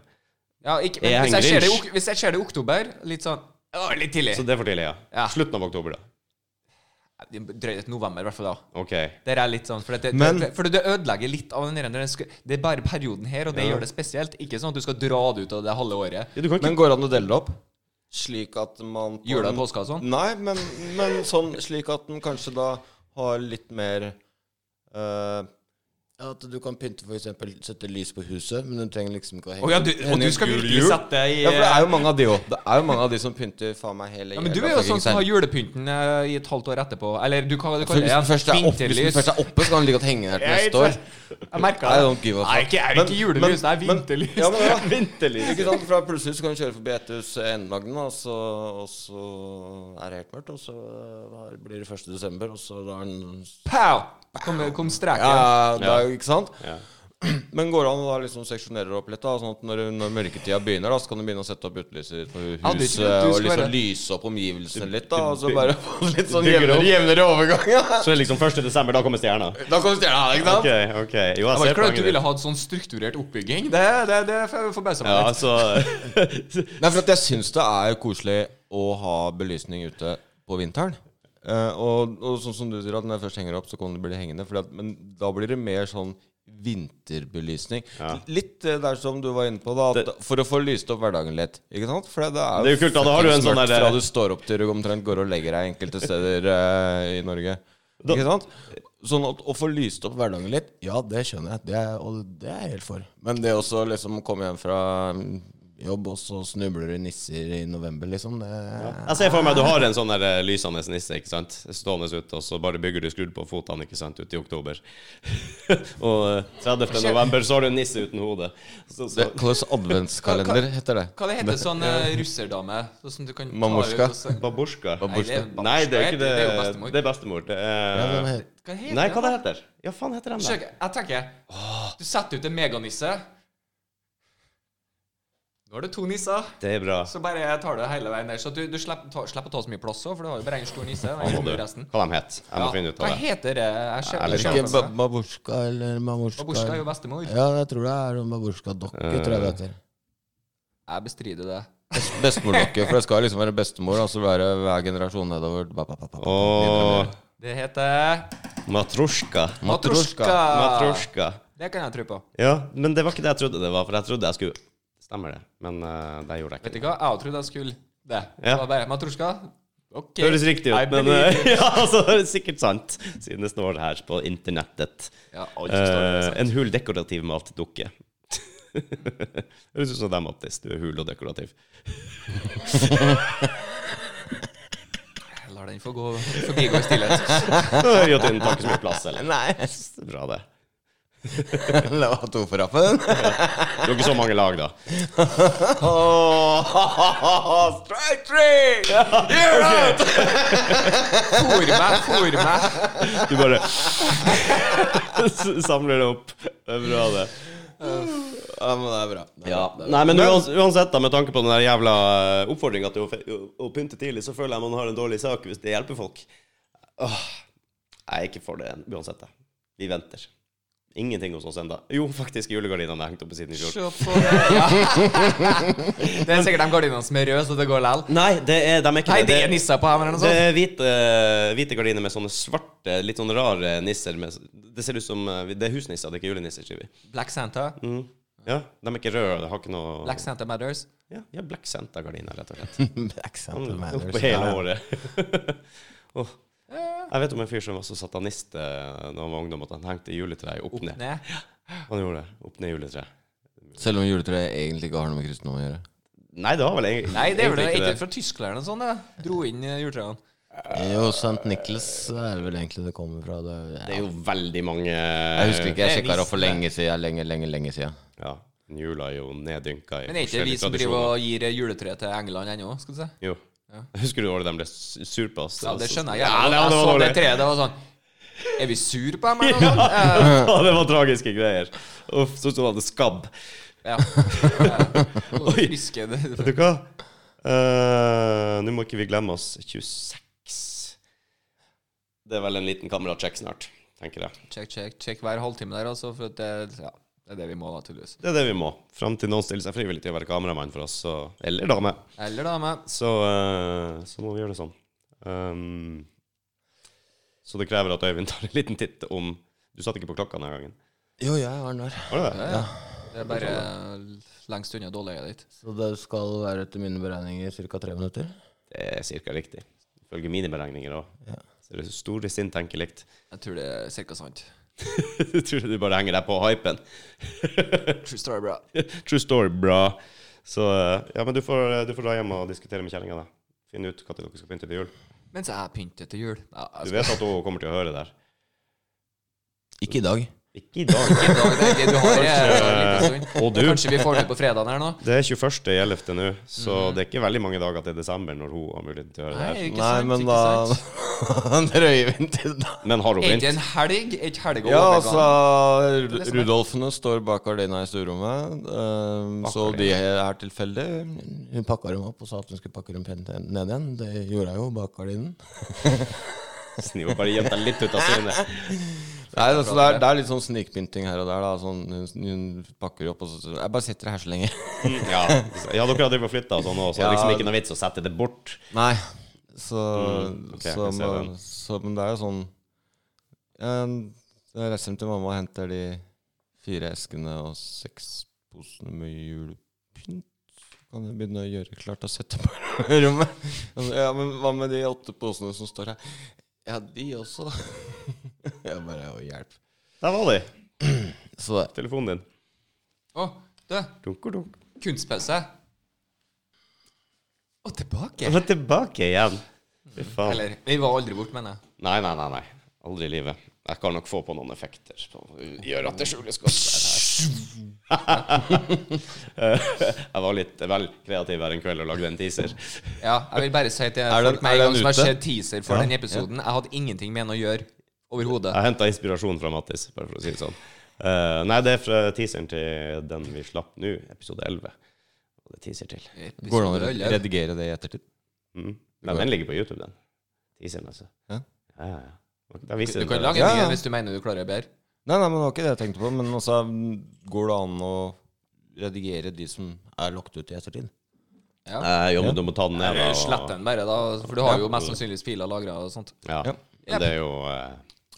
Speaker 3: Ja, ikke, men
Speaker 2: Jeg
Speaker 3: hvis,
Speaker 2: henger
Speaker 3: jeg ser det, i
Speaker 2: inch.
Speaker 3: ok- hvis jeg ser det i oktober, litt sånn Å, litt tidlig.
Speaker 2: Så det er for tidlig, ja.
Speaker 3: Ja.
Speaker 2: Slutten av oktober, da.
Speaker 3: Drøyt november, i hvert fall da.
Speaker 2: Ok.
Speaker 3: Der er litt sånn, for, det,
Speaker 1: Men-
Speaker 3: det, for det ødelegger litt av den der- den sku- Det er bare perioden her, og det
Speaker 2: Ja.
Speaker 3: gjør det spesielt. Ikke sånn at du skal dra det ut av det halve året.
Speaker 2: Ja, du kan ikke
Speaker 1: Men går det an å dele det opp? Slik at man på
Speaker 3: Jula,
Speaker 1: den-
Speaker 3: påska og sånn.
Speaker 1: Nei, men, men sånn slik at den kanskje da har litt mer eh, ja, At du kan pynte for eksempel sette lys på huset, men du trenger liksom ikke å henge
Speaker 3: Å ja, du, og
Speaker 1: henge
Speaker 3: du skal
Speaker 1: gul
Speaker 3: virkelig
Speaker 1: jul.
Speaker 3: sette i
Speaker 1: Ja, for det er jo mange av de òg. Det er jo mange av de som pynter faen meg hele
Speaker 3: Ja, men du
Speaker 1: jævla
Speaker 3: er jo
Speaker 1: fucking
Speaker 3: sånn
Speaker 1: serien.
Speaker 3: som har julepynten eh, i et halvt år etterpå. Eller du kan,
Speaker 1: Så
Speaker 3: du kaller
Speaker 1: hvis
Speaker 3: det
Speaker 1: den først er oppe, hvis den
Speaker 3: vinterlys.
Speaker 1: først er oppe, så kan den like godt henge der til neste år.
Speaker 3: Jeg merka
Speaker 1: I
Speaker 3: det.
Speaker 1: don't give a fuck.
Speaker 3: Nei, ikke, er det
Speaker 1: Men-
Speaker 3: ikke julelys, det er
Speaker 1: men-
Speaker 3: vinterlys.
Speaker 1: Ja, men, ja.
Speaker 2: Vinterlys.
Speaker 1: Ikke sant? For da plutselig så kan du kjøre forbi et hus i Endelagden, og, så- og så er det helt mørkt, og så eh, blir det 1. desember, og så da er den
Speaker 3: Pow! Kom, kom streken.
Speaker 1: Ja, det er jo ikke sant?
Speaker 2: Ja.
Speaker 1: Men går det an å da liksom seksjonere opp litt, da? Sånn at når, når mørketida begynner, da, så kan du begynne å sette opp utelyset ditt på
Speaker 3: Ja, det
Speaker 1: huset,
Speaker 3: tror jeg du
Speaker 1: og
Speaker 3: skal
Speaker 1: liksom
Speaker 3: være.
Speaker 1: lyse opp omgivelsene litt, da.
Speaker 2: du
Speaker 1: Og så
Speaker 2: byg-
Speaker 1: bare få litt sånn
Speaker 2: bygger
Speaker 1: jevnere,
Speaker 2: opp.
Speaker 1: jevnere overgang. Ja.
Speaker 2: Så det er liksom 1. desember, da kommer stjerna.
Speaker 1: Da kan du stjele her, ikke sant?
Speaker 2: Ok, ok. Jo,
Speaker 3: Jeg
Speaker 2: jeg
Speaker 3: var
Speaker 2: ser
Speaker 3: ikke klar over at
Speaker 2: poenget
Speaker 3: du
Speaker 2: ditt.
Speaker 3: ville ha en sånn strukturert oppbygging. Det, det, det får jeg forbausa meg
Speaker 2: Ja,
Speaker 3: litt.
Speaker 2: altså
Speaker 1: Nei, for at jeg syns det er koselig å ha belysning ute på vinteren. Eh, og, og sånn som du sier, at når jeg først henger opp, så kan det bli hengende. Fordi at, men da blir det mer sånn vinterbelysning. Litt eh, der som du var inne på, da. At, for å få lyst opp hverdagen litt. Ikke sant? For det er jo,
Speaker 2: Det er jo kult, da. Da har du en
Speaker 1: fucking
Speaker 2: sånn
Speaker 1: mørkt
Speaker 2: der-
Speaker 1: Fra du står opp til du omtrent går og legger deg enkelte steder eh, i Norge.
Speaker 2: Da-
Speaker 1: ikke sant? Sånn at å få lyst opp hverdagen litt, ja, det skjønner jeg. Det er, og det er jeg helt for. Men det også liksom komme hjem fra mm, jobb, og så snubler du i nisser i november, liksom. Det,
Speaker 2: Jeg ser for meg du har en sånn der eh, lysende nisse, ikke sant? Stående ute, og så bare bygger du skrudd på fotene, ikke sant, ut i oktober. og eh, 30. november så har du en nisse uten hode. Så,
Speaker 1: det
Speaker 2: så.
Speaker 1: kalles adventskalender, heter det.
Speaker 3: Hva det heter sånn eh, russerdame? Sånn som du kan ta
Speaker 1: Mamushka.
Speaker 3: ut og så-
Speaker 2: Babushka.
Speaker 3: Nei, det er babushka.
Speaker 2: Nei, det er ikke det.
Speaker 3: Det er jo bestemor.
Speaker 2: Det er bestemor. Det er,
Speaker 1: Ja, den heter-
Speaker 3: Hva heter
Speaker 2: Nei,
Speaker 3: det?
Speaker 2: hva det heter Ja, faen heter den
Speaker 3: Skjøk,
Speaker 2: der?
Speaker 3: jeg tenker Du setter ut en meganisse. Nå har du to nisser,
Speaker 2: Det er bra.
Speaker 3: så bare tar du det hele veien der. Så du, du slipper, ta, slipper å ta så mye plass òg, for du har jo bare én stor nisse. og
Speaker 2: Faen,
Speaker 3: ingen
Speaker 2: må du.
Speaker 3: gjør resten.
Speaker 2: Hva de het? Jeg må
Speaker 3: Ja.
Speaker 2: finne ut
Speaker 3: Hva
Speaker 2: av det.
Speaker 3: heter det? Jeg ser
Speaker 2: Ja, eller
Speaker 3: jeg ser
Speaker 1: Ikke
Speaker 3: det.
Speaker 1: ba- babusjka eller mamorska.
Speaker 3: Babushka er jo bestemor.
Speaker 1: Ja, jeg tror det er en babusjka-dokke, tror jeg det heter.
Speaker 3: Jeg bestrider det.
Speaker 1: Best- Bestemordokke, for det skal liksom være bestemor, altså være hver generasjon nedover. Ba, ba, ba, ba, ba.
Speaker 2: Og
Speaker 3: Det heter
Speaker 2: matrosjka.
Speaker 1: Matrosjka.
Speaker 2: Matrosjka.
Speaker 3: Det kan jeg tro på.
Speaker 2: Ja, men det var ikke det jeg trodde det var, for jeg trodde jeg skulle Stemmer det, men eh, det gjorde jeg ikke.
Speaker 3: Vet du hva, jeg òg trodde jeg skulle det.
Speaker 2: Ja.
Speaker 3: Det var bare Matrosjka. Ok.
Speaker 2: Det høres riktig
Speaker 3: I
Speaker 2: ut, men
Speaker 3: believe
Speaker 2: eh, ja, altså, det er sikkert sant, siden det står her på internettet.
Speaker 3: Ja, alt som står der,
Speaker 2: Eh,
Speaker 3: sant.
Speaker 2: en hul dekorativ matdukke. Høres ut som deg, Mattis. Du er hul og dekorativ.
Speaker 3: Jeg lar den få gå forbigå i stillhet.
Speaker 2: Jotun tar ikke så mye plass, eller?
Speaker 1: Nei,
Speaker 2: Det er Bra, det.
Speaker 1: la meg ha to for rappen.
Speaker 2: Du har ikke så mange lag, da.
Speaker 1: Strike three!
Speaker 3: For meg, for meg.
Speaker 2: Du bare samler det opp. Det er bra, det.
Speaker 1: Ja, men det er bra. Det er bra. Det er
Speaker 2: Ja.
Speaker 1: bra.
Speaker 2: Nei, men uans- uansett, da, med tanke på den der jævla oppfordringa til å, fe- å, å pynte tidlig, så føler jeg man har en dårlig sak hvis det hjelper folk. Åh, jeg er ikke for det uansett. Jeg. Vi venter. Ingenting hos oss enda Jo, faktisk, julegardinene er hengt opp på siden i fjor.
Speaker 3: Se på det. Ja. Det er sikkert de gardinene som er røde, så det går lell.
Speaker 2: Nei, det er, de er ikke
Speaker 3: Nei, det er nisser på hjemmet eller noe
Speaker 2: Det
Speaker 3: sånt.
Speaker 2: er hvite, hvite gardiner med sånne svarte, litt sånn rare nisser. Med, det ser ut som eh, Det er husnisser, det er ikke julenisser, sier vi.
Speaker 3: Black Santa.
Speaker 2: Mm. Ja, De er ikke røde, det har ikke noe
Speaker 3: Black Santa Matters.
Speaker 2: Ja, ja Black Santa-gardiner, rett og slett.
Speaker 1: Black Santa Matters.
Speaker 2: Oppe hele
Speaker 1: Ja.
Speaker 3: sånn,
Speaker 2: året. Åh. Jeg vet om en fyr som var så satanist eh, da han var ungdom at han hengte juletreet opp ned.
Speaker 3: Nei.
Speaker 2: Han gjorde det. Opp ned juletreet.
Speaker 1: Selv om juletreet egentlig ikke har noe med kristendom å gjøre.
Speaker 2: Nei, det var vel egentlig
Speaker 3: Nei, det er vel
Speaker 2: egentlig
Speaker 3: ikke fra tyskerne sånn, det. Dro inn eh, juletrærne.
Speaker 1: Jo, St. Nicholas er vel egentlig det kommer fra. Det,
Speaker 2: Det er jo veldig mange
Speaker 1: Jeg husker ikke, jeg
Speaker 3: Det er
Speaker 1: sjekka det opp for
Speaker 3: visst,
Speaker 1: lenge siden. Lenge, lenge, lenge siden.
Speaker 2: Ja, Jula er jo neddynka i
Speaker 3: Men er ikke det vi
Speaker 2: forskjellige
Speaker 3: som
Speaker 2: tradisjoner.
Speaker 3: driver og gir juletre til England ennå? skal du si?
Speaker 2: Jo. Husker du året de ble sur på oss?
Speaker 3: Ja, det skjønner jeg.
Speaker 2: Ja,
Speaker 3: gjerne.
Speaker 2: det var, det var
Speaker 3: jeg så det
Speaker 2: dårlig.
Speaker 3: treet, det var sånn Er vi sur på dem, eller noe? sånt?
Speaker 2: Ja, det var tragiske greier. Uff, så sto det hadde skabb.
Speaker 3: Eh, Ja. Og
Speaker 2: Oi.
Speaker 3: friske, det-
Speaker 2: Vet du hva? Eh, Nå må ikke vi glemme oss 26. Det er vel en liten kamerasjekk snart, tenker jeg.
Speaker 3: Check, check, check hver halvtime der, altså. For at det, ja, det er det vi må, naturligvis.
Speaker 2: Det er det vi må. Fram til noen stiller seg frivillig til å være kameramann for oss, så, eller dame.
Speaker 3: Eller da med
Speaker 2: Så, eh, så må vi gjøre det sånn. Ehm, så det krever at Øyvind tar en liten titt om Du satt ikke på klokka denne gangen.
Speaker 1: Jo, jeg har den her.
Speaker 2: Var det det?
Speaker 3: ja, ja. Det er bare lengst unna dårligøyet ditt.
Speaker 1: Så det skal være etter mine beregninger ca. tre minutter.
Speaker 2: Det er cirka riktig. Ifølge mine beregninger òg.
Speaker 1: Ja.
Speaker 2: Så det store sinn tenker likt.
Speaker 3: Jeg tror det er cirka sant.
Speaker 2: Jeg tror du bare henger deg på hypen.
Speaker 3: True story, bra.
Speaker 2: True story, bra. Så eh, ja, men du får, du får dra hjem og diskutere med kjerringa, da. Finne ut hva til dere skal pynte til jul.
Speaker 3: Mens jeg pynter til jul. Ja,
Speaker 2: Du
Speaker 3: jeg
Speaker 2: vet at hun kommer til å høre det her.
Speaker 1: Ikke i dag.
Speaker 2: Ikke i dag.
Speaker 3: skal i dag, det er ikke- du har eh,
Speaker 2: Kanskje-
Speaker 3: en liten stund.
Speaker 2: Og du.
Speaker 3: Kanskje vi får det på fredagen her nå?
Speaker 2: Det er 21. i 11. nå, så det er ikke veldig mange dager til desember når hun har muligheten til å høre det her.
Speaker 3: Mm. Nei, ikke
Speaker 1: Nei,
Speaker 3: sant,
Speaker 1: men
Speaker 3: ikke
Speaker 1: da
Speaker 3: sant.
Speaker 1: drøyer vi den til da.
Speaker 2: Men har hun
Speaker 3: Er ikke
Speaker 2: begynt?
Speaker 3: en helg? Er ikke helg å
Speaker 1: Ja,
Speaker 3: overgå?
Speaker 1: altså Ru- Rudolfene står bak Ardena i stuerommet. ehm, så de er tilfeldige. Hun pakka dem opp og sa at hun skulle pakke dem pent ned igjen. Det gjorde jeg jo bak gardinen.
Speaker 2: Snill, bare gjemt deg litt ut av synet.
Speaker 1: Nei, altså, det, er, det er litt sånn snikpynting her og der. Da. Sånn, hun, hun pakker dem opp og så sier hun, Jeg bare sitter her så lenge.
Speaker 2: Mm, Ja, ja dere har drevet og flytta og sånn òg, så det er liksom ikke noe vits å sette det bort.
Speaker 1: Nei. Så,
Speaker 2: ok,
Speaker 1: så,
Speaker 2: jeg ser
Speaker 1: men,
Speaker 2: den.
Speaker 1: så Men det er jo sånn ehm, Jeg reiser hjem til mamma og henter de fire eskene og seks posene med julepynt. Kan jeg begynne å gjøre klart og sette på rommet? Altså, ja, men hva med de åtte posene som står her? Ja, de også. jeg bare Å, hjelp.
Speaker 2: Der var de.
Speaker 1: Så det
Speaker 2: Telefonen din.
Speaker 3: Å, du,
Speaker 2: Dunk og dunk.
Speaker 3: kunstpause. Og tilbake.
Speaker 2: Og så tilbake igjen. Fy faen.
Speaker 3: Eller Vi var aldri borte, mener jeg.
Speaker 2: Nei, nei, nei. nei. Aldri i livet. Jeg kan nok få på noen effekter som gjør at det skjules godt der her. jeg var litt vel kreativ her en kveld og lagde en teaser.
Speaker 3: Ja, jeg vil bare si til
Speaker 1: den-
Speaker 3: folk med
Speaker 1: er
Speaker 3: en gang
Speaker 1: den
Speaker 3: som har
Speaker 1: ute?
Speaker 3: sett teaser for den episoden Jeg hadde ingenting med den å gjøre overhodet.
Speaker 2: Jeg henta inspirasjon fra Mattis, bare for å si det sånn. Eh, nei, det er fra teaseren til den vi slapp nå, episode 11. Og det er teaser til.
Speaker 3: Eh,
Speaker 1: går det an å
Speaker 3: Episode
Speaker 1: re-
Speaker 3: elleve.
Speaker 1: redigere det i ettertid?
Speaker 2: Mm. Nei, den ligger på YouTube, den. Teaseren, altså.
Speaker 1: Ja.
Speaker 2: Ja, ja, ja. Da viser
Speaker 3: Du
Speaker 2: den
Speaker 3: kan
Speaker 2: det.
Speaker 3: lage en
Speaker 1: Ja, ja.
Speaker 3: ny hvis du mener du klarer det bedre.
Speaker 1: Nei, nei, men det var ikke det jeg tenkte på. Men altså, går det an å redigere de som er lagt ut i ettertid?
Speaker 2: Eh, jo, men du må ta den ned. da, og-
Speaker 3: Slett den bare, da. For du har jo mest sannsynligvis filer lagra og sånt.
Speaker 2: Ja.
Speaker 1: Ja.
Speaker 2: Men Det er jo eh,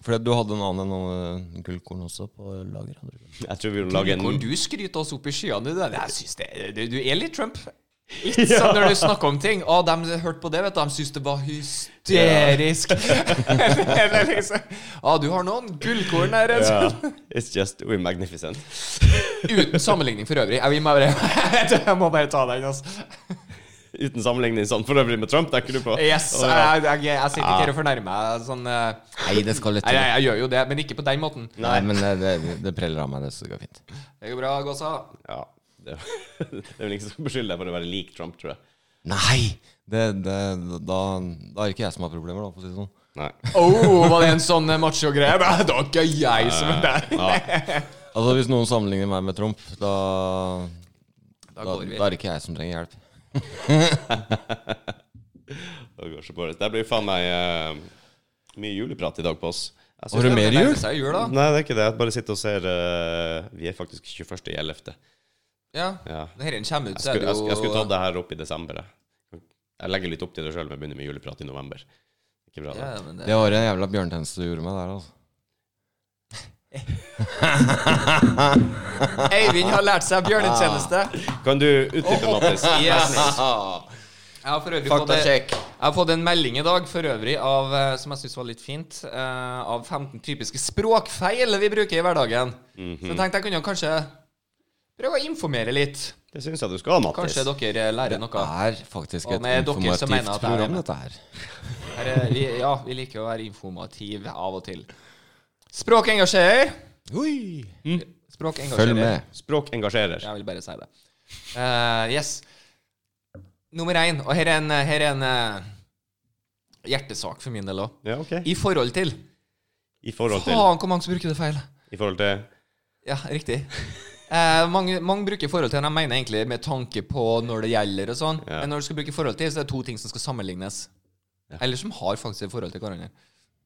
Speaker 1: Fordi du hadde en annen enn uh, gullkorn også på lager. hadde du ikke?
Speaker 2: Jeg tror vi må lage en
Speaker 3: Hvor du skryter oss opp i skyene. Du, jeg synes det, du, du er litt Trump. Litt sånn når du snakker om ting. Å, de hørte på det, vet du. De syntes det var hysterisk. Eller liksom Å, du har noen gullkorn her. Altså.
Speaker 2: Ja. It's just we're magnificent.
Speaker 3: Uten sammenligning for øvrig. Jeg, vil bare, jeg må bare ta den, altså.
Speaker 2: Uten sammenligning sånn for øvrig med Trump, tenker du på?
Speaker 3: Yes,
Speaker 2: Å, ja.
Speaker 3: jeg, jeg, jeg sitter ikke her og fornærmer meg sånn eh,
Speaker 1: Nei, det skal litt
Speaker 3: Nei,
Speaker 1: til.
Speaker 3: jeg, jeg gjør jo det, men ikke på den måten.
Speaker 1: Nei, men det, det, det preller av meg, det, så det går fint.
Speaker 3: Det går bra, Gåsa.
Speaker 2: ja. Det, det er vel ingen som skal beskylde deg for å være lik Trump, tror jeg.
Speaker 1: Nei! Det, det, da, da er det ikke jeg som har problemer, da, for å si det sånn.
Speaker 2: Nei.
Speaker 3: Oh, var det en sånn eh, macho-greie? Nei, Det var ikke jeg som er der.
Speaker 2: Ja.
Speaker 1: Altså, hvis noen sammenligner meg med Trump, da,
Speaker 3: Da
Speaker 1: da,
Speaker 3: går vi.
Speaker 1: da er det ikke jeg som trenger hjelp.
Speaker 2: Det går så bare. Det blir faen meg eh, mye juleprat i dag på oss. Jeg synes
Speaker 1: Har du
Speaker 2: det-
Speaker 1: mer
Speaker 3: Det nærmer
Speaker 1: jul?
Speaker 3: seg jul, da.
Speaker 2: Nei, det er ikke det. Jeg bare sitter og ser eh, Vi er faktisk 21. i 11.
Speaker 3: Ja.
Speaker 2: Ja.
Speaker 3: Når dette kommer ut,
Speaker 2: Jeg
Speaker 3: så er
Speaker 2: skulle,
Speaker 3: det
Speaker 2: jeg, skulle, jeg skulle
Speaker 3: jo
Speaker 2: tatt det her opp i desember. Jeg, jeg legger litt opp til det sjøl, men jeg begynner med juleprat i november. Ikke bra, det.
Speaker 3: Ja, men det
Speaker 1: Det var en jævla bjørntjeneste du gjorde meg der, altså.
Speaker 3: Eivind har lært seg bjørnetjeneste.
Speaker 2: Kan du utdype, Mattis?
Speaker 3: Yes. Jeg har for øvrig fått, jeg har fått en melding i dag for øvrig av, eh, som jeg syns var litt fint, eh, av
Speaker 2: Mhm.
Speaker 3: 15 typiske språkfeil vi bruker i hverdagen. Så jeg tenkte jeg kunne jo kanskje Prøv å informere litt.
Speaker 2: Det syns jeg du skal, Mattis.
Speaker 3: Kanskje dere lærer noe.
Speaker 1: er faktisk
Speaker 3: Og
Speaker 1: et
Speaker 3: med dere som mener
Speaker 1: informativt
Speaker 3: at det er
Speaker 1: program,
Speaker 3: det.
Speaker 1: dette her.
Speaker 3: Her er, vi, ja, vi liker å være informative av og til. Språk engasjerer.
Speaker 1: Oi.
Speaker 2: Mm.
Speaker 3: Språk engasjerer.
Speaker 1: Følg med.
Speaker 2: Språk engasjerer.
Speaker 3: Jeg vil bare si det. Eh, yes. Nummer én, og her er en, her er en eh, hjertesak for min del òg.
Speaker 2: Ja, ok.
Speaker 3: I forhold til
Speaker 2: I forhold til
Speaker 3: Faen, hvor mange som bruker det feil!
Speaker 2: I forhold til
Speaker 3: Ja, riktig. Eh, mange, mange bruker forhold til, og jeg mener egentlig med tanke på når det gjelder og sånn.
Speaker 2: Ja.
Speaker 3: Men når du skal bruke forhold til, så er det to ting som skal sammenlignes. Eller som har faktisk et forhold til hverandre.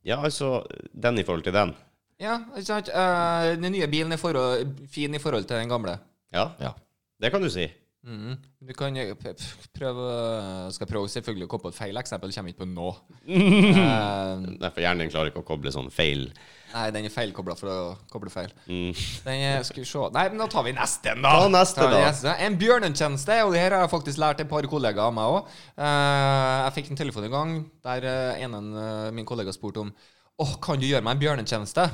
Speaker 2: Ja, altså den i forhold til den.
Speaker 3: Ja, ikke sant? Eh, den nye bilen er forhold, fin i forhold til den gamle.
Speaker 2: Ja,
Speaker 1: Ja.
Speaker 2: det kan du si.
Speaker 3: Mhm. Du kan jo p- p- prøve Skal prøve selvfølgelig å komme på et feil eksempel, kommer ikke på nå. Eh,
Speaker 2: Nei, for hjernen klarer ikke å koble sånn feil.
Speaker 3: nei, den er feilkobla for å koble feil.
Speaker 2: Mm.
Speaker 3: Den er, skal vi se Nei, men da tar vi neste, en, da!
Speaker 2: Ta neste,
Speaker 3: Tar vi
Speaker 2: da.
Speaker 3: neste. En bjørnetjeneste, og det her har jeg faktisk lært et par kollegaer av meg òg. jeg fikk en telefon en gang der eh, en av eh, mine kollegaer spurte om Å, kan du gjøre meg en bjørnetjeneste?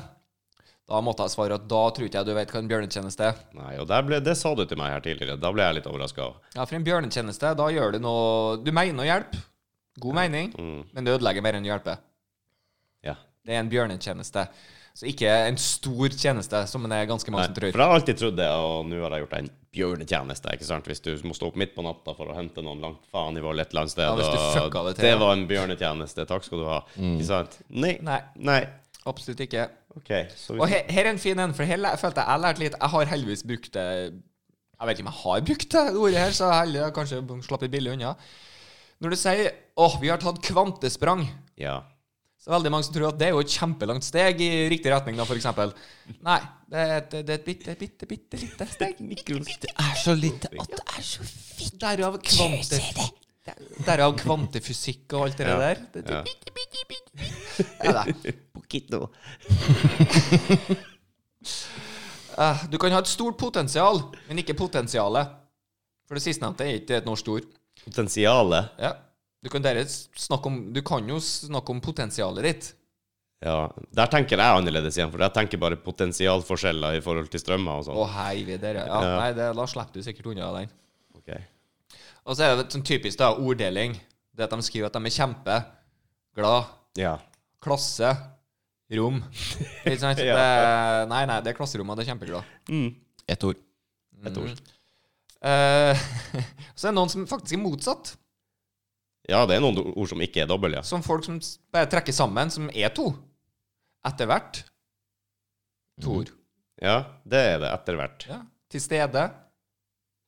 Speaker 3: Da måtte jeg svare at da tror ikke jeg du vet hva en bjørnetjeneste er.
Speaker 2: Nei, og der ble, det sa du til meg her tidligere. Da ble jeg litt overraska.
Speaker 3: Ja, for en bjørnetjeneste, da gjør du noe Du mener å hjelpe. God mening,
Speaker 2: Mm.
Speaker 3: men det ødelegger mer enn å hjelpe.
Speaker 2: Ja.
Speaker 3: Det er en bjørnetjeneste. Så ikke en stor tjeneste, som det er ganske mange
Speaker 2: Nei,
Speaker 3: som
Speaker 2: for
Speaker 3: tror.
Speaker 2: jeg har alltid trodd det, og nå har jeg gjort deg en bjørnetjeneste. ikke sant? Hvis du må stå opp midt på natta for å hente noen langt faen i et eller annet sted.
Speaker 3: Ja, hvis du
Speaker 2: og
Speaker 3: fucka det til,
Speaker 2: det
Speaker 3: ja.
Speaker 2: var en bjørnetjeneste. Takk skal du ha. Ikke sant? Nei.
Speaker 3: Nei,
Speaker 2: Nei.
Speaker 3: absolutt ikke.
Speaker 2: OK. Så
Speaker 3: Og
Speaker 2: hvis,
Speaker 3: her, her er en fin en, for her læ- følte jeg jeg lærte litt. Jeg har heldigvis brukt det Jeg vet ikke om jeg har brukt det ordet her, så jeg heller kanskje slapp litt billig unna. Når du sier 'Å, vi har tatt kvantesprang',
Speaker 2: ja.
Speaker 3: så er det veldig mange som tror at det er jo et kjempelangt steg i riktig retning, da, for eksempel. Nei, det er et, det er et bitte, bitte, bitte lite steg.
Speaker 2: Mikroskritt.
Speaker 1: Det er så lite at det er så
Speaker 3: Derav, kvante, derav kvantefysikk og alt det
Speaker 2: Ja,
Speaker 3: der. Det, det,
Speaker 2: ja.
Speaker 3: bitte, bitte, bitte, bitte. Ja, det. Eh, Du kan ha et stort potensial, men ikke potensialet. For det sistnevnte er ikke et norsk ord.
Speaker 2: Potensialet.
Speaker 3: Ja. Du kan, dere snakke om, du kan jo snakke om potensialet ditt.
Speaker 2: Ja. Der tenker jeg annerledes igjen, for jeg tenker bare potensialforskjeller i forhold til strømmer og
Speaker 3: Å,
Speaker 2: sånn.
Speaker 3: hei, vi dere. Ja,
Speaker 2: Ja.
Speaker 3: Nei, det, da slipper du sikkert unna den.
Speaker 2: Ok.
Speaker 3: Og så er det sånn typisk da, orddeling. Det at de skriver at de er kjempe, glad,
Speaker 2: Ja.
Speaker 3: klasse, rom. Ikke sant?
Speaker 2: Ja.
Speaker 3: det, nei, nei, det er klasserommet, det er kjempeglad. Mm.
Speaker 2: Mm.
Speaker 1: Ett ord.
Speaker 2: Et ord.
Speaker 3: Eh, så er det noen som faktisk er motsatt.
Speaker 2: Ja, det er noen ord som ikke er dobbel, ja.
Speaker 3: Som folk som s- bare trekker sammen, som er to. Etter hvert. To
Speaker 1: Mm.
Speaker 3: ord.
Speaker 2: Ja, det er det etter hvert.
Speaker 3: Ja. Til stede.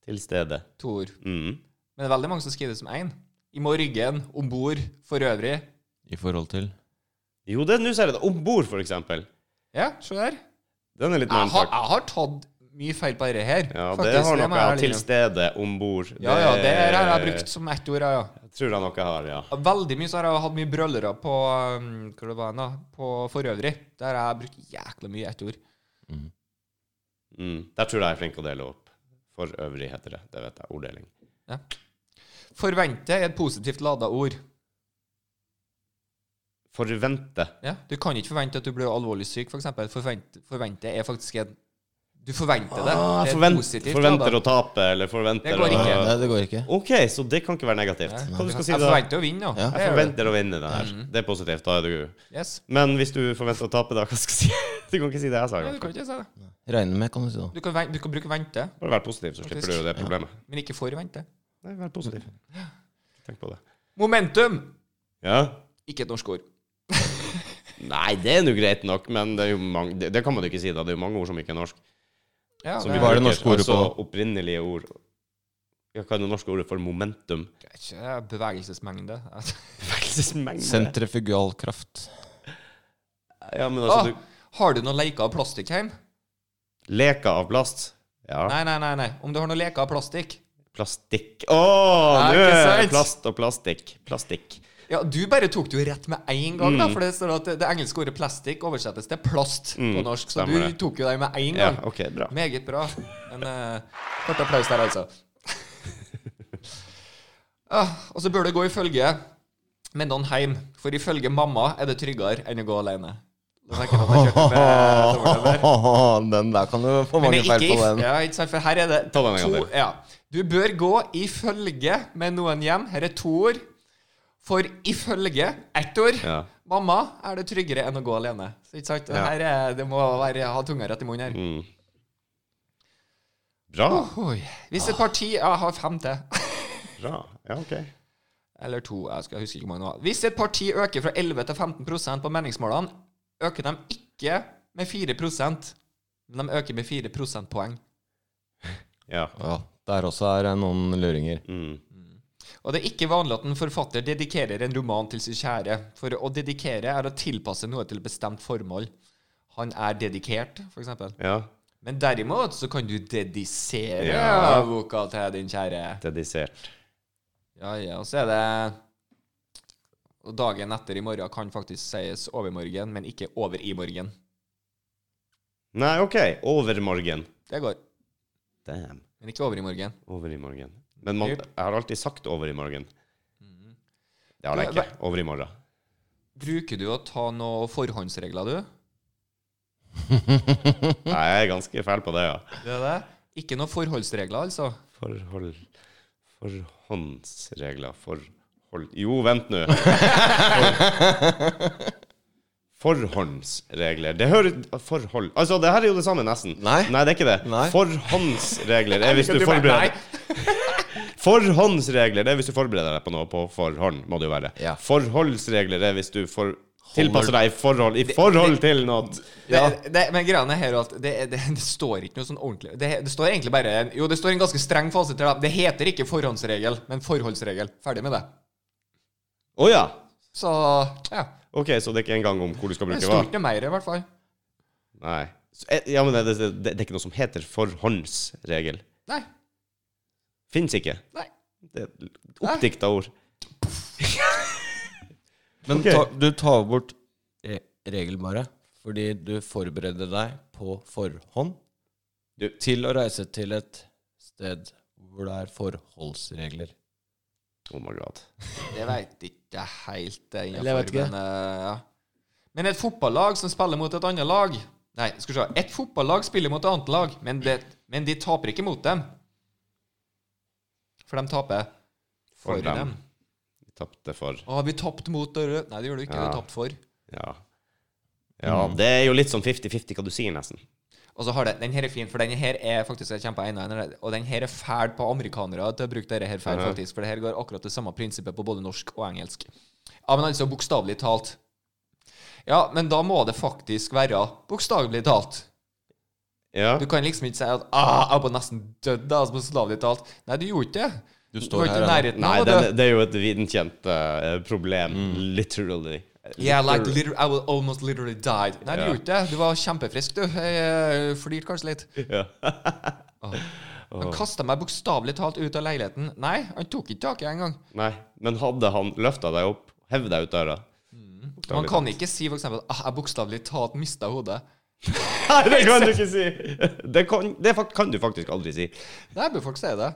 Speaker 2: Til stede.
Speaker 3: To ord.
Speaker 2: Mm.
Speaker 3: Men det er veldig mange som skriver det som én. I morgen, om bord, for øvrig.
Speaker 1: I forhold til
Speaker 2: Jo, det nå ser jeg det. Om bord, for eksempel.
Speaker 3: Ja, se der.
Speaker 2: Den er litt mer
Speaker 3: Jeg har,
Speaker 2: antrakt.
Speaker 3: jeg har tatt mye feil på dette her.
Speaker 2: Ja,
Speaker 3: faktisk.
Speaker 2: det har
Speaker 3: må
Speaker 2: noe
Speaker 3: jeg
Speaker 2: av
Speaker 3: ærlig
Speaker 2: til
Speaker 3: innrømme.
Speaker 2: stede, om bord.
Speaker 3: Ja, ja, det her har jeg brukt som ett ord, ja, ja.
Speaker 2: Jeg tror jeg nok jeg har, ja.
Speaker 3: Veldig mye så har jeg hatt mye brøllere på um, Hva det var det da? På for øvrig. Der har jeg brukt jækla mye ett ord.
Speaker 2: Mm. Der tror jeg jeg er flink å dele opp. For øvrig heter det. Det vet jeg. Orddeling.
Speaker 3: Ja. Forvente er et positivt lada ord.
Speaker 2: Forvente.
Speaker 3: Ja, Du kan ikke forvente at du blir alvorlig syk, f.eks. For forvente, forvente er faktisk en Du forventer det.
Speaker 2: Ah,
Speaker 3: det er
Speaker 2: forvent,
Speaker 3: positivt
Speaker 2: forventer
Speaker 3: ladet.
Speaker 2: å tape, eller forventer
Speaker 3: Det går ikke.
Speaker 2: å
Speaker 1: Nei, det går ikke.
Speaker 2: OK, så det kan ikke være negativt.
Speaker 3: Nei.
Speaker 2: Hva du skal si
Speaker 3: Jeg
Speaker 2: da?
Speaker 3: forventer å vinne, da.
Speaker 1: Ja.
Speaker 3: Det
Speaker 2: Jeg
Speaker 3: gjør
Speaker 2: forventer å vinne den her.
Speaker 3: Mhm.
Speaker 2: Det er positivt. Da er du
Speaker 3: Yes.
Speaker 2: Men hvis du forventer å tape, da, hva skal jeg si? Du kan ikke si det jeg sa.
Speaker 3: Ja,
Speaker 2: i hvert
Speaker 3: du
Speaker 2: fall.
Speaker 3: kan ikke si det.
Speaker 1: Regne med, kan du si da.
Speaker 3: Du kan, ven- du kan bruke vente,
Speaker 2: Bare vær positiv, så slipper du det problemet.
Speaker 3: men ikke forvente.
Speaker 2: Nei, vær positiv. Tenk på det.
Speaker 3: Momentum!
Speaker 2: Ja.
Speaker 3: Ikke et norsk ord.
Speaker 2: Nei, det er nå greit nok, men det, er jo mange, det, det kan man jo ikke si, da. Det er jo mange ord som ikke er norsk.
Speaker 3: Ja,
Speaker 2: Som
Speaker 3: det,
Speaker 2: vi
Speaker 1: Hva er det
Speaker 2: bruker,
Speaker 1: norske ordet på?
Speaker 2: Altså opprinnelige ord. Ja, hva er det norske ordet for momentum?
Speaker 3: er ikke bevegelsesmengde.
Speaker 2: Altså, Bevegelsesmengde.
Speaker 1: Sentrifugalkraft.
Speaker 2: Ja, men
Speaker 3: Ah,
Speaker 2: altså,
Speaker 3: har du noen leker av plastikk hjemme?
Speaker 2: du Leker av plast. Ja.
Speaker 3: Nei, nei, nei, nei. Om du har noen leker av plastikk
Speaker 2: Plastikk. Åh,
Speaker 3: Nei,
Speaker 2: nå
Speaker 3: ikke
Speaker 2: er det
Speaker 3: sant?
Speaker 2: plast og plastikk. Plastikk.
Speaker 3: Ja, du bare tok det jo rett med én gang, da, for det står at det, det engelske ordet plastikk oversettes til plast på
Speaker 2: Mm,
Speaker 3: norsk, så
Speaker 2: stemmer
Speaker 3: du
Speaker 2: det.
Speaker 3: tok jo det med én
Speaker 2: Ja,
Speaker 3: gang.
Speaker 2: OK, bra.
Speaker 3: Meget bra. En eh, kort applaus der, altså. ah, og så bør du gå i følge med noen hjem, for ifølge mamma er det tryggere enn å gå alene. Da tenker jeg at jeg kjørte med tommelnøver.
Speaker 1: den der kan du få
Speaker 3: Men
Speaker 1: mange
Speaker 3: det er
Speaker 1: feil
Speaker 3: ikke
Speaker 1: på.
Speaker 3: if.
Speaker 1: den
Speaker 3: Ja, ikke sant, for her er det
Speaker 2: Ta den en gang
Speaker 3: to
Speaker 2: til.
Speaker 3: ja. Du bør gå ifølge med noen hjem. Her er to ord. For ifølge ett ord.
Speaker 2: Ja.
Speaker 3: Mamma er det tryggere enn å gå alene. Så ikke sant? Det
Speaker 2: Ja.
Speaker 3: Her er, det må være, ha tunga rett i munnen her.
Speaker 2: Mm. Bra.
Speaker 3: Oi. Hvis et parti Jeg har fem til.
Speaker 2: Bra. Ja, OK.
Speaker 3: Eller to. Jeg skal huske ikke hvor mange det var. Hvis et parti øker fra 11 til 15 på meningsmålene, øker de ikke med 4 men de øker med 4 prosentpoeng.
Speaker 2: Ja.
Speaker 1: Ja, der også er det noen luringer.
Speaker 2: Mm.
Speaker 3: Og det er ikke vanlig at en forfatter dedikerer en roman til sin kjære, for å dedikere er å tilpasse noe til et bestemt formål. Han er dedikert, for eksempel.
Speaker 2: Ja.
Speaker 3: Men derimot så kan du dedisere
Speaker 2: Ja.
Speaker 3: boka til din kjære.
Speaker 2: Dedisert.
Speaker 3: Ja, ja, og så er det Og dagen etter i morgen kan faktisk sies over morgen, men ikke over i morgen.
Speaker 2: Nei, OK. Over morgen.
Speaker 3: Det går.
Speaker 2: Damn.
Speaker 3: Men ikke over i morgen.
Speaker 2: Over i morgen. Men man,
Speaker 3: Yep. Mm.
Speaker 2: jeg har alltid sagt over i morgen. Det har jeg ikke. Over i morgen.
Speaker 3: Bruker du å ta noen forhåndsregler, du?
Speaker 2: Nei, jeg er ganske fæl på det, ja.
Speaker 3: Det er det. Ikke noen forholdsregler, altså?
Speaker 2: Forhold Forhåndsregler Forhold Jo, vent nå. For, forhåndsregler Det hører Forhold Altså, det her er jo det samme, nesten.
Speaker 1: Nei.
Speaker 2: Nei det er ikke det.
Speaker 1: Nei.
Speaker 2: Forhåndsregler er hvis du
Speaker 3: Du bare,
Speaker 2: forbereder
Speaker 3: nei.
Speaker 2: Forhåndsregler det er hvis du forbereder deg på noe på forhånd, må det jo være.
Speaker 1: Ja.
Speaker 2: Forholdsregler er hvis du for,
Speaker 1: Holder-
Speaker 2: tilpasser deg i forhold, i forhold til noe.
Speaker 3: Det, det, men greiene her er at det, det, det står ikke noe sånn ordentlig det, det står egentlig bare en, Jo, det står en ganske streng fase til det. Det heter ikke forhåndsregel, men forholdsregel. Ferdig med det.
Speaker 2: Å ja.
Speaker 3: Så ja.
Speaker 2: Ok, så det er ikke engang om hvor du skal
Speaker 3: Det
Speaker 2: bruke hva?
Speaker 3: står ikke noe mer, i hvert fall.
Speaker 2: Nei. Så, eh, ja, men det, det, det, det er ikke noe som heter forhåndsregel.
Speaker 3: Nei.
Speaker 2: Fins ikke.
Speaker 3: Nei.
Speaker 2: Det er oppdikta ord.
Speaker 1: Men
Speaker 2: Ok.
Speaker 1: ta, du tar bort re regel bare fordi du forbereder deg på forhånd
Speaker 2: Du-
Speaker 1: til å reise til et sted hvor det er forholdsregler.
Speaker 2: Oh my god.
Speaker 3: Det veit ikke jeg helt. det innenfor,
Speaker 1: Eller jeg vet ikke.
Speaker 3: Men, eh, ja. men et fotballag som spiller mot et annet lag Nei, skal vi se. Et fotballag spiller mot et annet lag, men, det, men de taper ikke mot dem. For de taper for,
Speaker 2: For dem.
Speaker 3: dem.
Speaker 2: Vi tapte for
Speaker 3: Å, har vi tapt mot dere? Nei, det gjør du ikke.
Speaker 2: Ja.
Speaker 3: Du tapt for.
Speaker 2: Ja. Ja,
Speaker 3: Mm.
Speaker 2: det er jo litt sånn 50-50 hva du sier, nesten.
Speaker 3: Og så har det, Den her er fin, for den her er faktisk jeg kjemper enig i den, Og den her er fæl på amerikanere til å bruke dette her fæl,
Speaker 2: Ja.
Speaker 3: faktisk. For det her går akkurat det samme prinsippet på både norsk og engelsk. Ja, men altså bokstavelig talt. Ja, men da må det faktisk være bokstavelig talt.
Speaker 2: Ja.
Speaker 3: Du kan liksom ikke si at ah, 'Jeg var nesten dødd, da, altså, bokstavelig talt'. Nei, du gjorde ikke det.
Speaker 1: Du
Speaker 3: Du var
Speaker 1: står
Speaker 3: ikke i
Speaker 1: her ennå.
Speaker 3: nærheten
Speaker 2: Nei,
Speaker 3: av å
Speaker 2: det,
Speaker 3: dø.
Speaker 2: det er jo et vitenkjent eh, problem. Literally.
Speaker 3: Mm. Yeah, like
Speaker 2: Liter-
Speaker 3: liter I will almost literally died. Nei, du
Speaker 2: Ja.
Speaker 3: gjorde ikke det. Du var kjempefrisk, du. Jeg eh, flirte kanskje litt.
Speaker 2: Ja.
Speaker 3: Han kasta meg bokstavelig talt ut av leiligheten. Nei, han tok ikke tak i meg engang.
Speaker 2: Nei, men hadde han løfta deg opp, hevd deg ut døra
Speaker 3: Man kan ikke si for eksempel ah, 'jeg bokstavelig talt mista hodet'.
Speaker 2: Nei, det kan du ikke si! Det kan, det fak- kan du faktisk aldri si.
Speaker 3: Der bør folk si det.